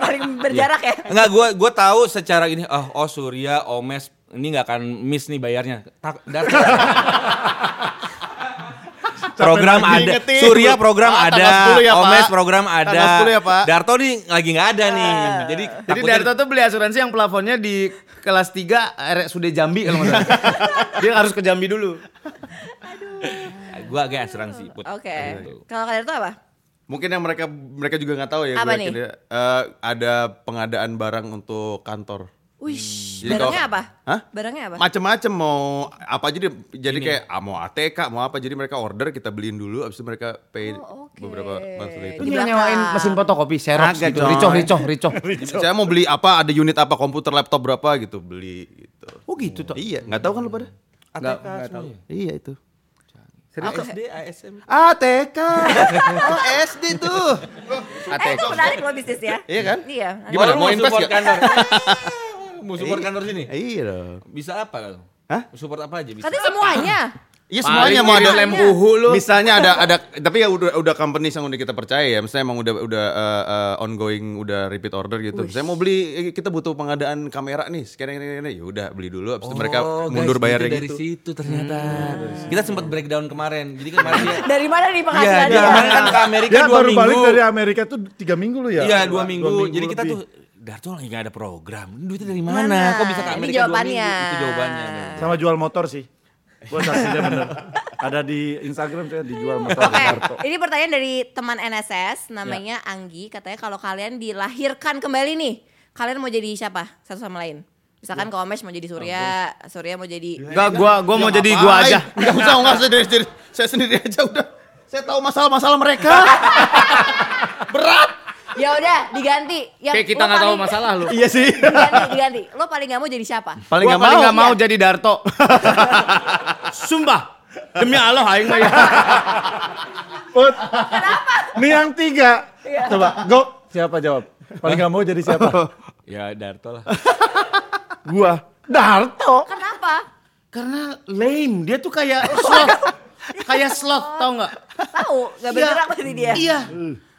B: paling berjarak ya.
A: Enggak, gue gue tahu secara gini, oh, oh Surya, Omes, ini nggak akan miss nih bayarnya. Tak, dar- program ada,
F: diingetin.
A: Surya program
F: Ah, tanggal
A: ada,
F: 10 ya, Pak.
A: Omes program ada,
F: Tanggal 10 ya, Pak.
A: Darto nih lagi nggak ada nih, jadi
D: Jadi
A: takutnya-
D: Darto tuh beli asuransi yang plafonnya di kelas 3 RSUD Jambi kalau nggak salah. Dia harus ke Jambi dulu.
A: gue "Ah, agak asuransi. Put.
B: Oke.
A: Gitu.
B: Kalau kalian tuh apa?
F: Mungkin yang mereka mereka juga nggak tahu ya.
B: Apa
F: gue yakin
B: nih?
F: ya. Eh, ada pengadaan barang untuk kantor.
B: Wish,
F: Jadi
B: barangnya
F: kalau-
B: apa?
F: Hah?
B: Barangnya apa?
F: Macem-macem mau apa aja dia jadi kayak ah, mau ATK mau apa jadi mereka order kita beliin dulu abis itu mereka pay
B: Oh, oke.
F: beberapa monthly
D: Itu
B: Di
D: dia
B: belakang.
D: nyewain mesin fotokopi, Xerox
F: Agak,
D: gitu.
F: coy.
D: Ricoh, ricoh, ricoh.
F: saya mau beli apa ada unit apa komputer laptop berapa gitu beli gitu
D: Oh gitu tuh.
F: iya nggak tahu kan lu pada
D: Nggak, nggak tahu.
F: iya itu
A: SD, ASM.
F: ATK oh SD tuh
B: Eh, itu menarik loh bisnisnya.
F: Iya kan?
B: Iya.
F: Gimana,
A: Oh, lu
F: mau invest
A: support
F: nggak?
A: kantor? mau support kantor sini?
F: iya dong
A: Bisa apa kalau?
F: Hah?
A: Support apa aja bisa?
B: Katanya semuanya.
F: Iya semuanya mau ada
B: ngirim lem
F: kuhu lu. Misalnya ada ada tapi ya udah udah company yang udah kita percaya ya. Misalnya emang udah udah eh, eh, ongoing udah repeat order gitu. Saya mau beli eh, kita butuh pengadaan kamera nih. Sekarang ini ini ya udah beli dulu abis itu mereka
A: Oh, guys,
F: mundur bayarnya
A: gitu dari
F: gitu.
A: situ ternyata. Kita sempat breakdown kemarin. Jadi kan kemarin dia
B: Dari mana nih
A: Iya,
B: penghasilannya?
A: dia kemarin kan ke Amerika
E: Dia
A: dua
E: Ya, baru
A: minggu.
E: balik dari Amerika tuh tiga minggu lu ya?
A: Iya, dua minggu. Jadi kita
E: lebih.
A: tuh Darto lagi gak ada program. Duitnya dari mana?
B: Mana?
A: Kok bisa ke
B: Ini
A: Amerika
B: jawabannya.
A: dua minggu? Itu jawabannya.
E: sama jual motor sih. Gua saksinya bener. Ada di Instagram saya dijual motor
B: Oke,
E: Darto.
B: ini pertanyaan dari teman NSS namanya Anggi katanya kalau kalian dilahirkan kembali nih, kalian mau jadi siapa satu sama lain? Misalkan kalau Omesh mau jadi Surya, Surya mau jadi
D: Enggak, gua gua mau jadi gua aja.
F: Enggak usah, enggak usah dari dari- saya sendiri aja udah. Saya tahu masalah-masalah mereka.
B: Ya udah diganti. Yang
D: Kayak kita
B: lo
D: nggak tahu
B: paling-
D: masalah lu.
F: iya sih.
B: Diganti, diganti. Lo paling gak mau jadi siapa?
D: Paling
F: Gua
D: gak
F: paling
D: mau.
F: nggak mau
D: jadi Darto. Sumpah. Demi Allah aing mah ya.
E: Put. Nih yang tiga. Coba, go. Siapa jawab? Paling gak mau jadi siapa?
A: Ya Darto lah. oh.
E: Gua. Darto.
B: Kenapa?
D: Karena lame, dia tuh kayak slot. kayak slot, tau nggak?
B: Tahu gak bergerak berarti dia.
D: Iya.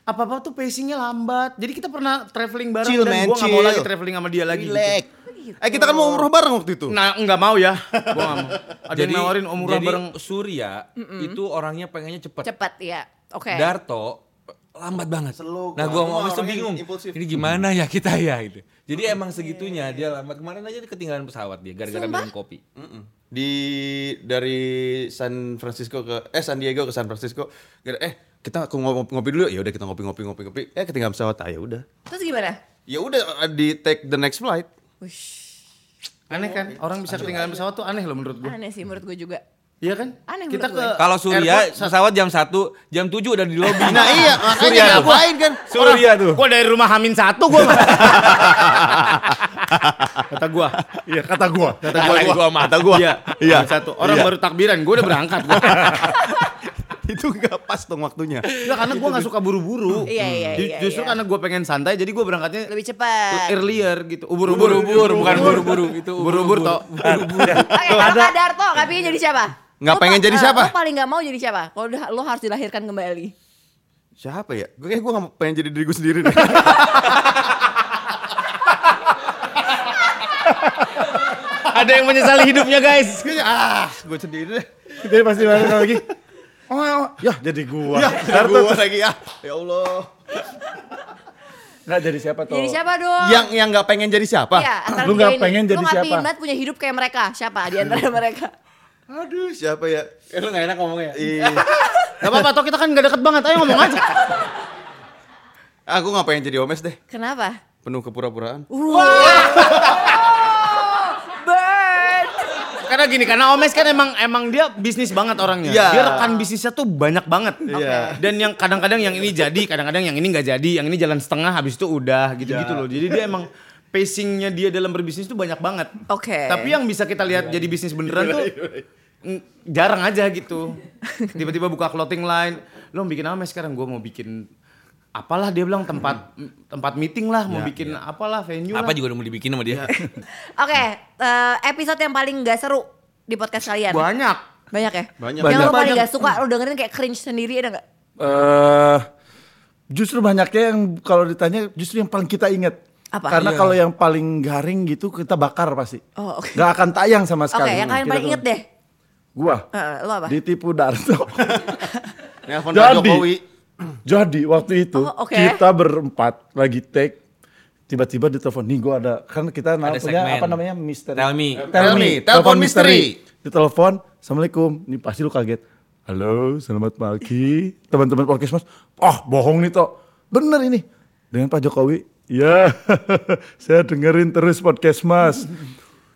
D: Apa-apa tuh pacingnya lambat. Jadi kita pernah traveling bareng
F: Chill,
D: dan
F: man,
D: gua nggak mau
F: chill.
D: lagi traveling sama dia lagi. gitu.
F: Relax.
B: Oh,
F: Eh kita kan mau umroh bareng waktu itu.
D: Nah, nggak mau ya. Gua nggak mau. Ada yang nawarin umrah
A: jadi
D: bareng.
A: Surya itu orangnya pengennya cepet.
B: Cepat ya. Oke.
A: Darto lambat banget.
F: Slow.
A: nah, gua
F: Gua
A: sama Omes tuh
F: orangnya
A: bingung.
F: impulsif.
A: Ini gimana ya kita ya gitu. Jadi emang segitunya dia lambat. Kemarin aja ketinggalan pesawat dia gara-gara minum kopi.
F: di dari San Francisco ke eh San Diego ke San Francisco Gara- eh kita aku ngopi, ngopi dulu ya udah kita ngopi ngopi ngopi ngopi eh ketinggalan pesawat ah ya udah
B: Terus gimana?
F: ya udah di take the next flight
B: Wush,
D: Aneh kan? Orang bisa ketinggalan pesawat tuh aneh loh menurut gua.
B: aneh sih menurut gue juga.
D: Iya kan?
B: Aneh
D: kita
B: menurut
D: ke
B: gue.
A: Kalau Surya
D: airport,
A: pesawat jam 1, jam 7 udah di lobi.
F: nah iya makanya ngapain kan
A: Surya tuh.
D: Gua dari rumah Hamin satu gua. Kata gua.
E: Iya, kata gua.
D: Kata gua.
F: Kata gua, kata gua.
D: Iya.
F: Iya.
D: Hamin Satu. Orang
F: Iya.
D: baru takbiran, gua udah berangkat gua.
F: itu nggak pas dong waktunya
D: Enggak karena gua nggak suka buru-buru.
B: Iya, iya,
D: Ju-
B: iya,
D: Justru
B: iya.
D: karena gua pengen santai jadi gua berangkatnya
B: Lebih cepat.
D: earlier gitu. Ubur-ubur.
A: Ubur-ubur bukan buru-buru itu
D: Ubur-ubur toh.
B: Oke, kalau Kak Darto gak pengen jadi siapa?
F: Nggak
B: Lo
F: pengen
B: pa-
F: jadi
B: eh,
F: siapa?
B: Lo paling gak mau jadi siapa? Kalau udah lo harus dilahirkan kembali.
F: siapa ya gue kayak gue nggak mau- pengen jadi diri gue sendiri deh
D: Ada yang menyesali hidupnya, guys.
F: Kayaknya, ah gue sendiri deh
E: Jadi pasti balik lagi. Oh, oh, ya jadi gua.
F: Ya,
E: Darto
F: gua
E: tuh.
F: lagi ya. Ya Allah.
E: Nggak jadi siapa tuh?
B: Jadi siapa dong?
F: Oh. Yang yang nggak pengen jadi siapa?
B: Iya, antara
E: Lu
B: tiga
E: nggak
B: ini.
E: pengen jadi
B: Lu nggak
E: siapa?
B: pengen banget punya hidup kayak mereka. Siapa di antara mereka?
F: Aduh, siapa ya?
A: Eh, lu gak enak ngomongnya.
F: Ih,
D: Gak apa-apa, toh kita kan gak deket banget, ayo ngomong aja.
F: aku Ah, nggak pengen jadi Omes deh.
B: Kenapa?
F: Penuh kepura-puraan.
B: Burn.
D: karena gini, karena Omes kan emang emang dia bisnis banget orangnya.
F: Iya.
D: Dia rekan bisnisnya tuh banyak banget.
F: Iya.
D: Dan yang kadang-kadang yang ini jadi, kadang-kadang yang ini nggak jadi, yang ini jalan setengah, habis itu udah
A: Iya.
D: gitu-gitu loh. Jadi dia emang pacingnya dia dalam berbisnis tuh banyak banget.
B: Oke.
D: Tapi yang bisa kita lihat
A: Iya.
D: jadi bisnis beneran tuh mm, jarang aja gitu. Tiba-tiba buka clothing line, lo mau bikin apa Mes? sekarang? Gue mau bikin apalah dia bilang tempat tempat meeting lah, mau bikin apalah venue
A: Iya, Apa
D: lah.
A: juga udah mau dibikin sama
F: Iya,
A: dia?
B: Oke, eh, episode yang paling gak seru di podcast kalian.
D: Banyak.
B: Banyak ya?
F: Banyak.
B: Yang lo
E: Banyak.
B: paling
E: Banyak.
B: gak suka, lo dengerin kayak cringe sendiri ada gak?
E: Eh, justru banyaknya yang kalau ditanya justru yang paling kita ingat.
B: Apa?
E: Karena
B: Iya.
E: kalau yang paling garing gitu kita bakar pasti.
B: Oh, oke.
E: Gak akan tayang sama
B: Oke,
E: sekali.
B: yang kalian
E: Kita
B: paling
E: tuh-
B: inget deh.
E: Gua.
B: Eh, lo apa?
E: Ditipu Darto.
F: Nelfon Pak
E: jadi,
F: Jokowi.
E: jadi waktu itu
B: Oh, oke.
E: kita berempat lagi take tiba-tiba ditelepon nih gua ada kan kita
A: Ada
E: namanya apa
A: segmen.
E: namanya misteri
A: Tell me.
F: Tell me, telepon misteri.
E: ditelepon assalamualaikum nih pasti lu kaget halo selamat pagi teman-teman podcast mas oh bohong nih toh bener ini dengan Pak Jokowi ya saya dengerin terus podcast mas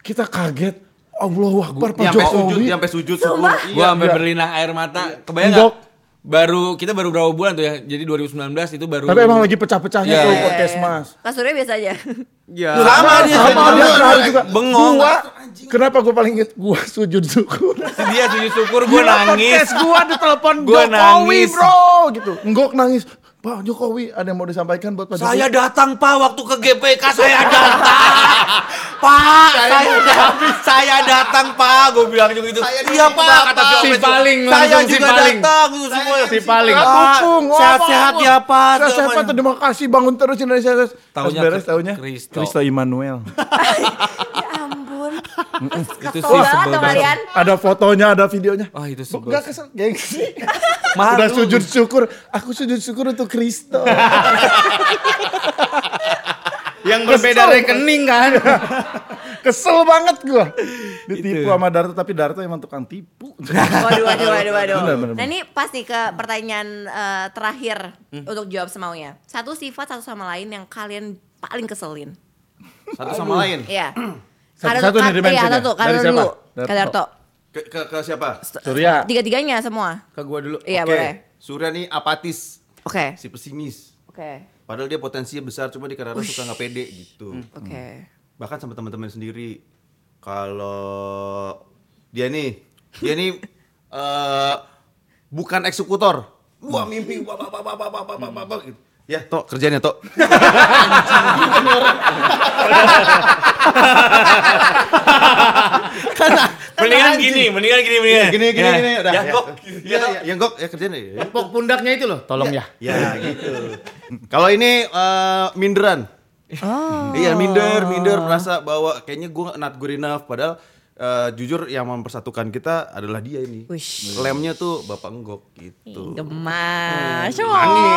E: kita kaget Allah Akbar Pak
F: Nyampe sujud,
E: Jokowi
F: nyampe sujud.
B: Sumpah.
F: Iya.
A: Gua sampai berlinang air mata. Kebayang
E: Enggak.
A: gak? Baru kita baru berapa bulan tuh ya? Jadi 2019 itu baru
E: tapi emang lagi pecah-pecahnya
A: Iya,
E: tuh
A: iya,
E: podcast mas
B: Kasurnya biasa aja.
E: sama
A: dia,
E: sama
A: Iya, sama
E: dia
A: dia.
E: ngaruh juga
A: Bengong.
E: Gua, kenapa gue paling inget gue sujud syukur
A: dia sujud syukur gua nangis.
E: podcast gue ditelepon
A: Gua
E: Jokowi
A: nangis.
E: bro gitu ngok nangis Pak Jokowi ada yang mau disampaikan buat Pak
A: Saya
E: Jokowi
A: datang Pak waktu ke GPK saya datang. Pak, saya, datang, saya datang Pak, gue bilang juga gitu. iya
F: Saya ditipu,
A: Pak,
F: Pak, kata
A: Pak."
D: si paling,
A: saya
D: langsung si
A: juga
D: paling.
A: datang itu semua.
D: Si paling.
E: Pak, dukung, wah,
A: Sehat-sehat
E: Pak.
A: ya Pak.
E: Sehat-sehat Pak, terima kasih bangun terus Indonesia terus Pas
A: Taunya
E: beres
A: Kri-
E: taunya
A: Kristo.
E: Kristo Immanuel
B: ya ampun.
A: Itu sih
B: Kesel banget
A: sebel
B: sama
A: banget.
B: kalian.
E: ada fotonya ada videonya
A: Wah, Ah, itu sebel.
E: Gak kesel, gengsi
A: Oh, Malu.
E: Udah sujud syukur Aku sujud syukur untuk Kristo
D: Yang berbeda rekening kan.
E: Kesel banget gua Ditipu sama Darto Tapi Darto emang tukang tipu
B: Waduh, waduh, waduh, waduh.
E: Bener, bener,
B: Nah ini pas nih ke pertanyaan eh, terakhir untuk jawab semaunya. Satu sifat satu sama lain yang kalian paling keselin.
F: Satu sama lain.
B: Iya.
E: Satu-satu nih dimention
B: Iya,
E: ya?
B: satu. Kalian
E: Dari siapa?
B: dulu.
E: Darto.
B: Kalian Darto.
F: Ke, ke, ke siapa?
E: Surya
B: Tiga-tiganya semua.
D: Ke gua dulu.
B: Iya,
F: Oke.
B: boleh.
F: Surya nih apatis,
B: Oke.
F: si pesimis.
B: Oke.
F: Padahal dia potensinya besar, cuma di karena suka nggak pede gitu.
B: Oke.
F: Bahkan sama teman-teman sendiri. Kalau dia nih, dia nih eh, bukan eksekutor. Wah mimpi, wah, wah, wah, wah, wah, wah, wah, wah, wah, gitu. Ya, Tok, kerjanya, Tok.
A: Mendingan gini, mendingan gini,
D: Eh,
A: mendingan.
F: Gini, gini,
A: Ya.
F: gini, udah.
A: Ya, kok.
F: Ya, ya, ya, gok, ya kerjanya. ya.
D: Tepuk pundaknya itu loh. Tolong ya.
F: Ya gitu. Kalau ini eh, minderan. Iya minder, minder merasa bahwa kayaknya gue not good enough. Padahal eh, jujur yang mempersatukan kita adalah dia ini.
B: Wish. Iya,
F: Lemnya tuh bapak enggok gitu.
B: Gemas.
F: Nangis, nangis.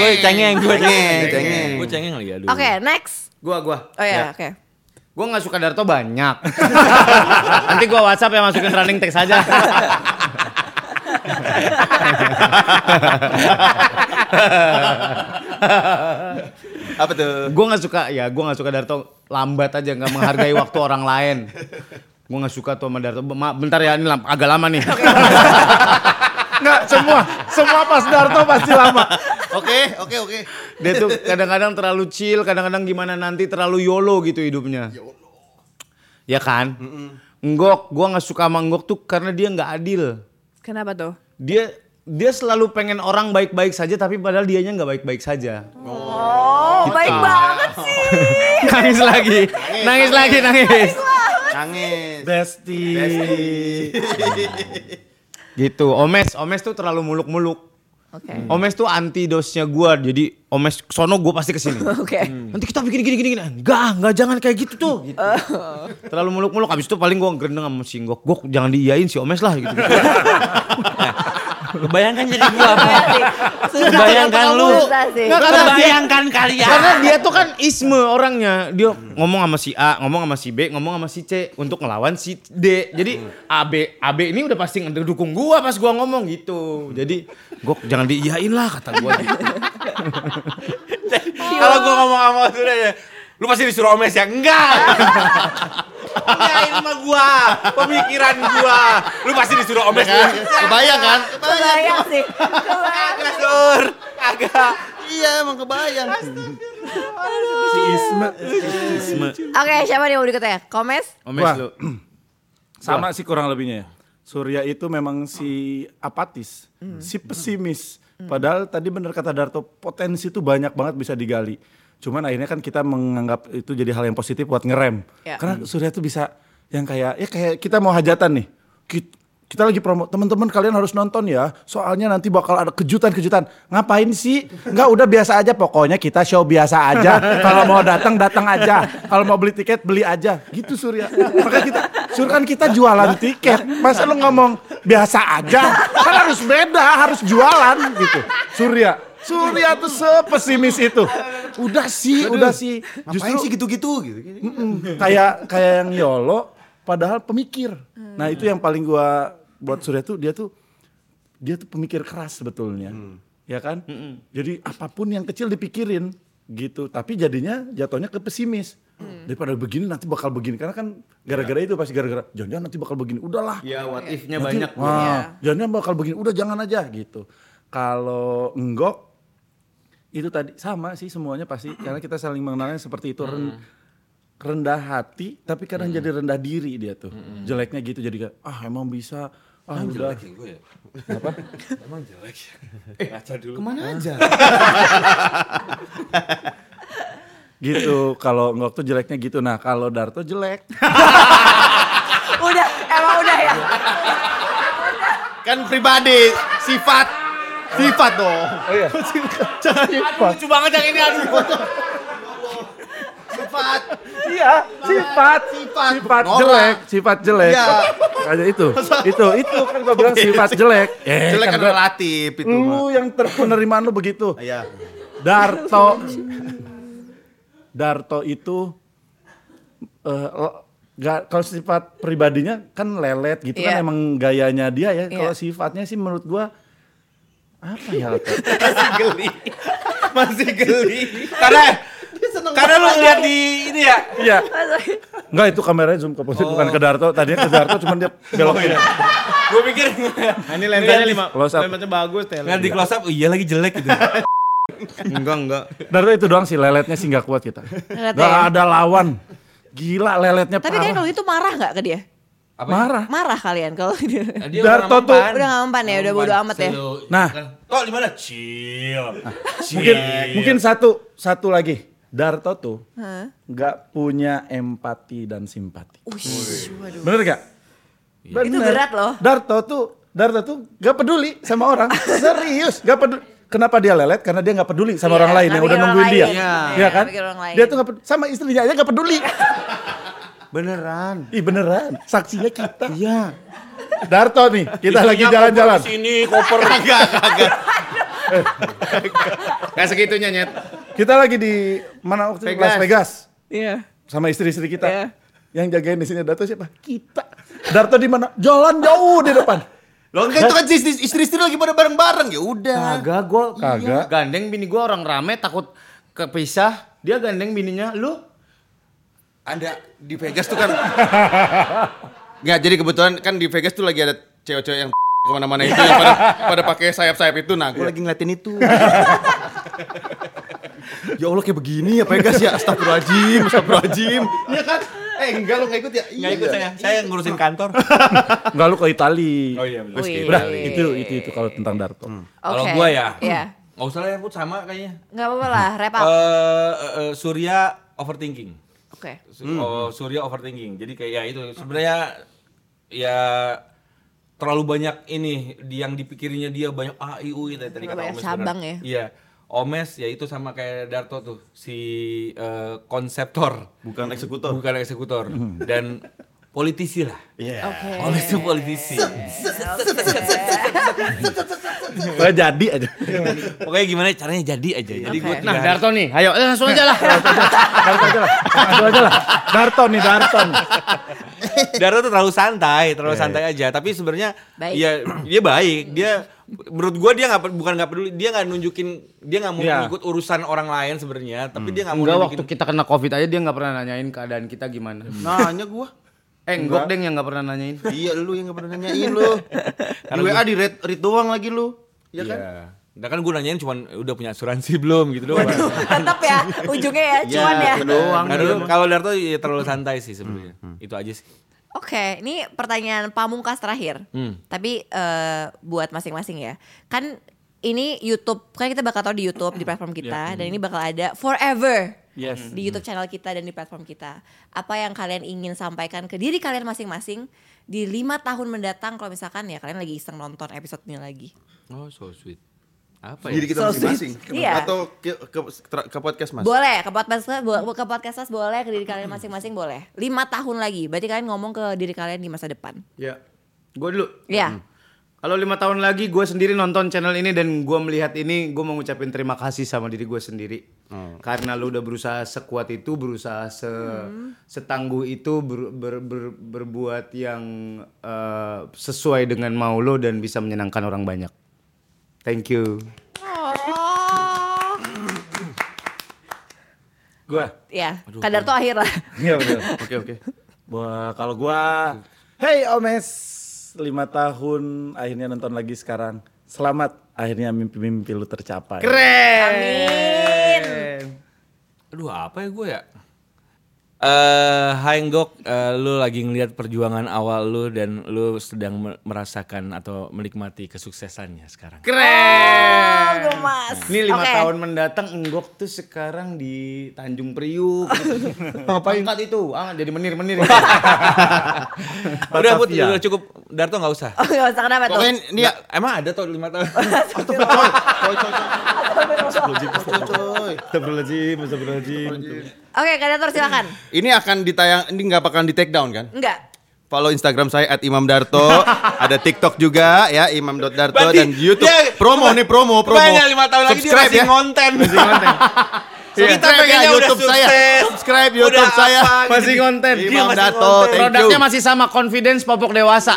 A: Gue cengeng, gue cengeng,
F: Cengeng, cengeng.
A: Gue cengeng lagi aduh.
B: Oke, next.
D: Gua gua.
B: Oh ya,
D: Ya.
B: oke.
D: Gue nggak suka Darto banyak. Nanti gue WhatsApp ya masukin running text aja.
F: Apa tuh?
D: gue nggak suka ya, gue nggak suka Darto lambat aja nggak menghargai waktu orang lain. Gue nggak suka tuh sama Darto. Ma- bentar ya ini lam- agak lama nih.
E: Enggak, semua Semua pas Darto pasti lama
F: Oke, oke, oke.
D: Dia tuh kadang-kadang terlalu chill, kadang-kadang gimana nanti terlalu yolo gitu hidupnya. Ya kan? Nggok, gue nggak suka sama Nggok tuh karena dia nggak adil.
B: Kenapa tuh?
D: dia dia selalu pengen orang baik-baik saja tapi padahal dianya nggak baik-baik saja.
B: Oh, baik banget sih.
D: nangis lagi, nangis lagi, nangis.
F: Nangis.
E: Besti
D: Gitu. Omes, Omes tuh terlalu muluk-muluk.
B: Oke.
D: Omes tuh anti dosnya gua, jadi Omes sono gua pasti kesini.
B: Oke.
A: Hmm.
D: Nanti kita bikin gini gini gini. Enggak, enggak jangan kayak gitu tuh. Hmm. Gitu. Terlalu muluk-muluk habis itu paling gua gerendeng sama si Gok. Gok jangan diiyain si Omes lah gitu.
H: Kebayangkan jadi gua apa?
B: Susah
H: Kebayangkan
B: untuk
H: lu.
B: memutar sih.
D: Nggak, karena dia-
H: Kebayangkan kalian.
D: Karena dia tuh kan isme orangnya. Dia ngomong sama si A, ngomong sama si B, ngomong sama si C untuk ngelawan si D. Jadi A B A B ini udah pasti ngedukung gua pas gua ngomong gitu. Jadi gok jangan diiyain lah kata gua. gitu.
A: Kalau gua ngomong sama sudah ya, lu pasti disuruh omes ya? Enggak. Enggak, ini mah gua, pemikiran gua. Lu pasti disuruh omes ya?
F: Kebayang kan?
B: Kebayang Oh, sih. Kebayang.
A: Enggak, Sur. Kagak.
F: Iya emang kebayang.
E: Si Isma.
B: Oke, siapa nih yang mau diketek? Komes?
D: Omes
E: Wah.
D: lu.
E: Sama sih kurang lebihnya ya. Surya itu memang si apatis, si pesimis. Padahal tadi bener kata Darto, potensi itu banyak banget bisa digali. Cuman akhirnya kan kita menganggap itu jadi hal yang positif buat ngerem.
B: Ya.
F: Hmm.
E: Karena Surya itu bisa yang kayak ya kayak kita mau hajatan nih. Ki- Kita, lagi promo, teman-teman kalian harus nonton ya. Soalnya nanti bakal ada kejutan-kejutan. Ngapain sih? Enggak udah biasa aja pokoknya kita show biasa aja. Kalau mau datang datang aja. Kalau mau beli tiket beli aja. Gitu Surya. Maka kita Sur kan kita jualan tiket. Masa lu ngomong biasa aja? Kan harus beda, harus jualan gitu. Surya. Surya tuh sepesimis itu. Udah sih, udah sih.
F: Ngapain sih gitu-gitu gitu.
E: Mm-mm. kayak kayak yang yolo padahal pemikir. Nah, itu yang paling gua buat Surya tuh dia tuh dia tuh pemikir keras sebetulnya. Ya kan? Jadi apapun yang kecil dipikirin gitu, tapi jadinya jatuhnya ke pesimis. Daripada begini nanti bakal begini karena kan gara-gara itu pasti gara-gara jangan-jangan nanti bakal begini. Udahlah.
D: Ya
F: Iya,
D: what if-nya
E: Nanti-
D: banyak.
E: Wah, jangan bakal begini. Udah jangan aja gitu. Kalau enggok itu tadi sama sih semuanya pasti karena kita saling mengenalnya seperti itu Ren-
F: Hmm.
E: rendah hati tapi kadang jadi rendah diri dia tuh.
F: Hmm.
E: Jeleknya gitu jadi kayak ah emang bisa ah udah.
F: Kemana aja?
E: gitu kalau enggok tuh jeleknya gitu. Nah, kalau Darto jelek.
B: Udah, emang udah ya?
F: Kan pribadi, sifat, sifat dong. Oh iya. Jangan sifat.
H: Lucu banget yang ini aduh.
F: Sifat.
E: iya, sifat
F: Sifat.
E: sifat
F: Nolak.
E: jelek, sifat jelek.
F: Iya.
E: Kayak itu. Itu itu kan gua bilang sifat jelek. Eh,
F: Jelek kan relatif itu. mah.
E: lu yang ter- penerimaan lu begitu.
F: Iya.
E: Darto Darto itu eh, l- ga- kalau sifat pribadinya kan lelet gitu
B: Iya.
E: kan emang gayanya dia ya.
B: Iya.
E: Kalau sifatnya sih menurut gua apa ya? Alta?
F: Masih geli. Masih geli.
A: Karena karena lu ngeliat di ini ya.
E: Iya. Enggak itu kameranya zoom ke
F: Oh.
E: posisi bukan ke Darto. Tadinya ke Darto cuman dia belok
F: iya.
E: ini.
A: Gua pikir
D: Nah, Ini lensanya lima.
E: Close up.
D: Lensanya bagus teh.
A: ngeliat di close up, iya lagi jelek gitu.
B: Nah,
D: Enggak enggak.
E: Darto itu doang sih leletnya sih nggak kuat kita.
B: Lelet
E: Gak
B: ya?
E: ada lawan. Gila leletnya
B: Tapi kalian
E: parah.
B: kalau itu marah gak ke dia?
E: Marah.
B: Marah kalian kalau dia.
E: Darto tuh-
B: Udah gak mempan ya, udah bodo amat ya.
E: Nah.
A: Kok di mana? Chill.
E: mungkin mungkin satu satu lagi Darto tuh
B: Hah?
E: nggak punya empati dan simpati
B: Ush, waduh.
E: bener gak
B: Itu berat loh.
E: Darto tuh Darto tuh nggak peduli sama orang serius nggak peduli Kenapa dia lelet? Karena dia nggak peduli
B: Iya,
E: sama orang lain
B: nggak
E: yang udah
B: mikir orang
E: nungguin dia,
B: lain. Iya.
E: Iya kan?
B: Nggak mikir orang lain.
E: Dia tuh nggak peduli. sama istrinya aja nggak peduli.
D: Beneran.
E: Ih beneran, saksinya kita. Iya. Darto nih, kita lagi jalan-jalan.
A: Sini koper.
D: Kayak segitunya nyet.
E: Kita lagi di mana waktu itu?
D: Vegas.
E: Las Vegas.
B: Iya.
E: sama istri-istri kita.
B: Iya.
E: Yang jagain di sini Darto siapa? Kita. Darto di mana? Jalan jauh di depan.
F: Lo kan itu kan istri- istri-istri lagi pada bareng-bareng ya udah.
D: Kagak gua
E: Kagak.
D: Iya. Gandeng bini gua orang rame takut kepisah. Dia gandeng bininya. Lu
F: Anda di Vegas tuh kan Nggak, jadi kebetulan kan di Vegas tuh lagi ada cewek-cewek yang kemana-mana itu yang pada pada pakai sayap-sayap itu nah gue lagi ngeliatin itu ya Allah kayak begini ya Vegas ya astagfirullahaladzim astagfirullahaladzim ya kan eh enggak lo nggak ikut ya
A: Nggak ikut saya, saya ngurusin kantor.
E: Enggak lu ke Itali.
A: Oh iya, bener.
B: Wih.
E: Udah, itu itu itu kalau tentang Darto.
A: Kalau
B: Oke.
A: gua ya,
B: Iya. Ah.
A: nggak usah lah ya, Put, sama kayaknya.
B: Gak apa-apa lah, wrap
A: Eh,
B: up.
A: eh, eh, Surya overthinking.
B: Oke.
D: Hmm,
A: Su- oh, Surya overthinking. Jadi kayak ya itu sebenarnya ya terlalu banyak ini di- yang dipikirinnya dia banyak A I U I tadi tadi kata
B: Banyak
A: Omes
B: cabang
A: bener.
B: ya.
A: Iya. Omes ya itu sama kayak Darto tuh si eh, konseptor
F: Bukan eksekutor.
A: bukan eksekutor
D: Hmm.
A: dan politisi lah.
D: Iya.
B: Oke.
A: Omes tuh politisi.
E: Pokoknya jadi aja.
A: Pokoknya gimana caranya jadi aja. Jadi gue
B: Oke.
D: Nah, Darto nih, ayo eh, langsung aja lah.
E: Darto aja lah. Darto Ah, aja lah. Darton nih, Darton.
A: Darto tuh terlalu santai, terlalu santai aja. Tapi sebenarnya
B: Baik.
A: ya dia baik. Dia menurut gua dia nggak pe- bukan nggak peduli, dia nggak nunjukin dia nggak mau
E: Iya.
A: ikut urusan orang lain sebenarnya. Tapi dia nggak mau
D: Enggak
A: nunjukin.
D: waktu kita kena covid aja dia nggak pernah nanyain keadaan kita gimana.
F: Nanya gua.
D: Eh, enggak deng yang nggak pernah nanyain.
F: Iya lu yang gak pernah nanyain lu. Di WA di read, read doang lagi lu.
A: Iya
F: Iya kan?
A: Dan kan gue nanyain cuman udah punya asuransi belum gitu doang.
B: Tetap ya ujungnya ya cuan ya.
F: itu doang.
A: Nah, dulu kalau Darto ya terlalu santai sih sebenarnya. Itu aja sih.
B: Oke, ini pertanyaan pamungkas terakhir. Tapi eh, buat masing-masing ya. Kan ini YouTube, kan kita bakal tahu di YouTube di platform kita dan ini bakal ada forever
E: Yes.
B: di YouTube channel kita dan di platform kita. Apa yang kalian ingin sampaikan ke diri kalian masing-masing di lima tahun mendatang kalau misalkan ya kalian lagi iseng nonton episode ini lagi.
A: Oh, so sweet. Apa
F: Jadi
A: ya?
F: kita masing-masing.
B: Iya.
F: Atau ke, ke, tra- ke podcast mas.
B: Boleh ke podcast bo- ke podcast Mas boleh ke diri kalian masing-masing boleh. Lima tahun lagi. Berarti kalian ngomong ke diri kalian di masa depan.
D: Ya. Gue dulu.
B: Iya.
D: Kalau lima tahun lagi gue sendiri nonton channel ini dan gue melihat ini, gue mau ngucapin terima kasih sama diri gue sendiri.
E: Oh.
D: Karena lu udah berusaha sekuat itu, berusaha se setangguh itu, ber- ber- ber- berbuat yang eh, sesuai dengan mau lo dan bisa menyenangkan orang banyak. Thank you.
B: Oh.
E: Gua.
B: Ya, kadar tuh akhir lah.
E: Iya betul.
D: Oke oke.
E: Wah, kalau gua Hey Omes, lima tahun akhirnya nonton lagi sekarang. Selamat akhirnya mimpi-mimpi lu tercapai.
B: Amin.
A: Aduh, apa ya gue ya? Eh, Haenggok, eh, lu lagi ngelihat perjuangan awal lu dan lu sedang me- merasakan atau menikmati kesuksesannya sekarang.
B: Oh,
E: Iya,
B: gemas.
D: Ini lima
B: Oke.
D: tahun mendatang Enggok tuh sekarang di Tanjung Priuk. Ngapain? Angkat itu, ah, jadi menir-menir.
A: Udah, Put, udah cukup. Darto nggak usah.
F: Iya.
B: Oh, gak usah kenapa tuh?
F: Pokoknya ya, dia
A: Nggak, emang ada tuh lima tahun.
E: Astagfirullahaladzim, astagfirullahaladzim.
B: Oke, Kadator silakan.
F: ini akan ditayang, ini nggak bakalan di take down kan?
B: Enggak.
F: Follow Instagram saya at Imam Darto, ada TikTok juga ya imam.darto
A: Berarti
F: dan YouTube.
A: dia-
F: promo nih promo promo.
A: Banyak lima tahun lagi dia
F: subscribe
A: masih
F: ya.
A: konten. So, kita
F: Subscribe ya
A: pengennya udah
F: YouTube saya.
A: sukses.
F: Subscribe YouTube
A: Udah
F: saya.
A: apa, gitu.
D: Masih konten.
A: Dia
F: Imam
A: masih
F: Darto,
A: konten.
F: thank you.
D: Produknya masih sama confidence popok dewasa.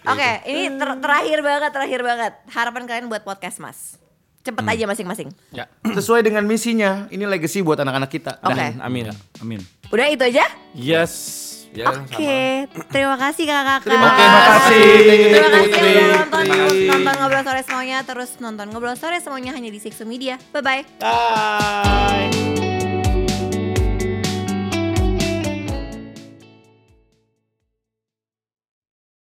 B: Oke, ini ter- terakhir banget, terakhir banget. Harapan kalian buat podcast Mas. Cepet aja masing-masing.
D: Ya. Sesuai dengan misinya, ini legacy buat anak-anak kita.
B: Oke.
A: Amin.
E: Amin.
B: Udah itu aja?
E: Yes.
A: Ya,
B: Oke, terima kasih kakak-kakak.
E: Terima kasih.
B: Terima kasih udah nonton, nonton Ngobrol Sore Semuanya. Terus nonton Ngobrol Sore Semuanya hanya di Sixu Media. Bye-bye.
A: Bye.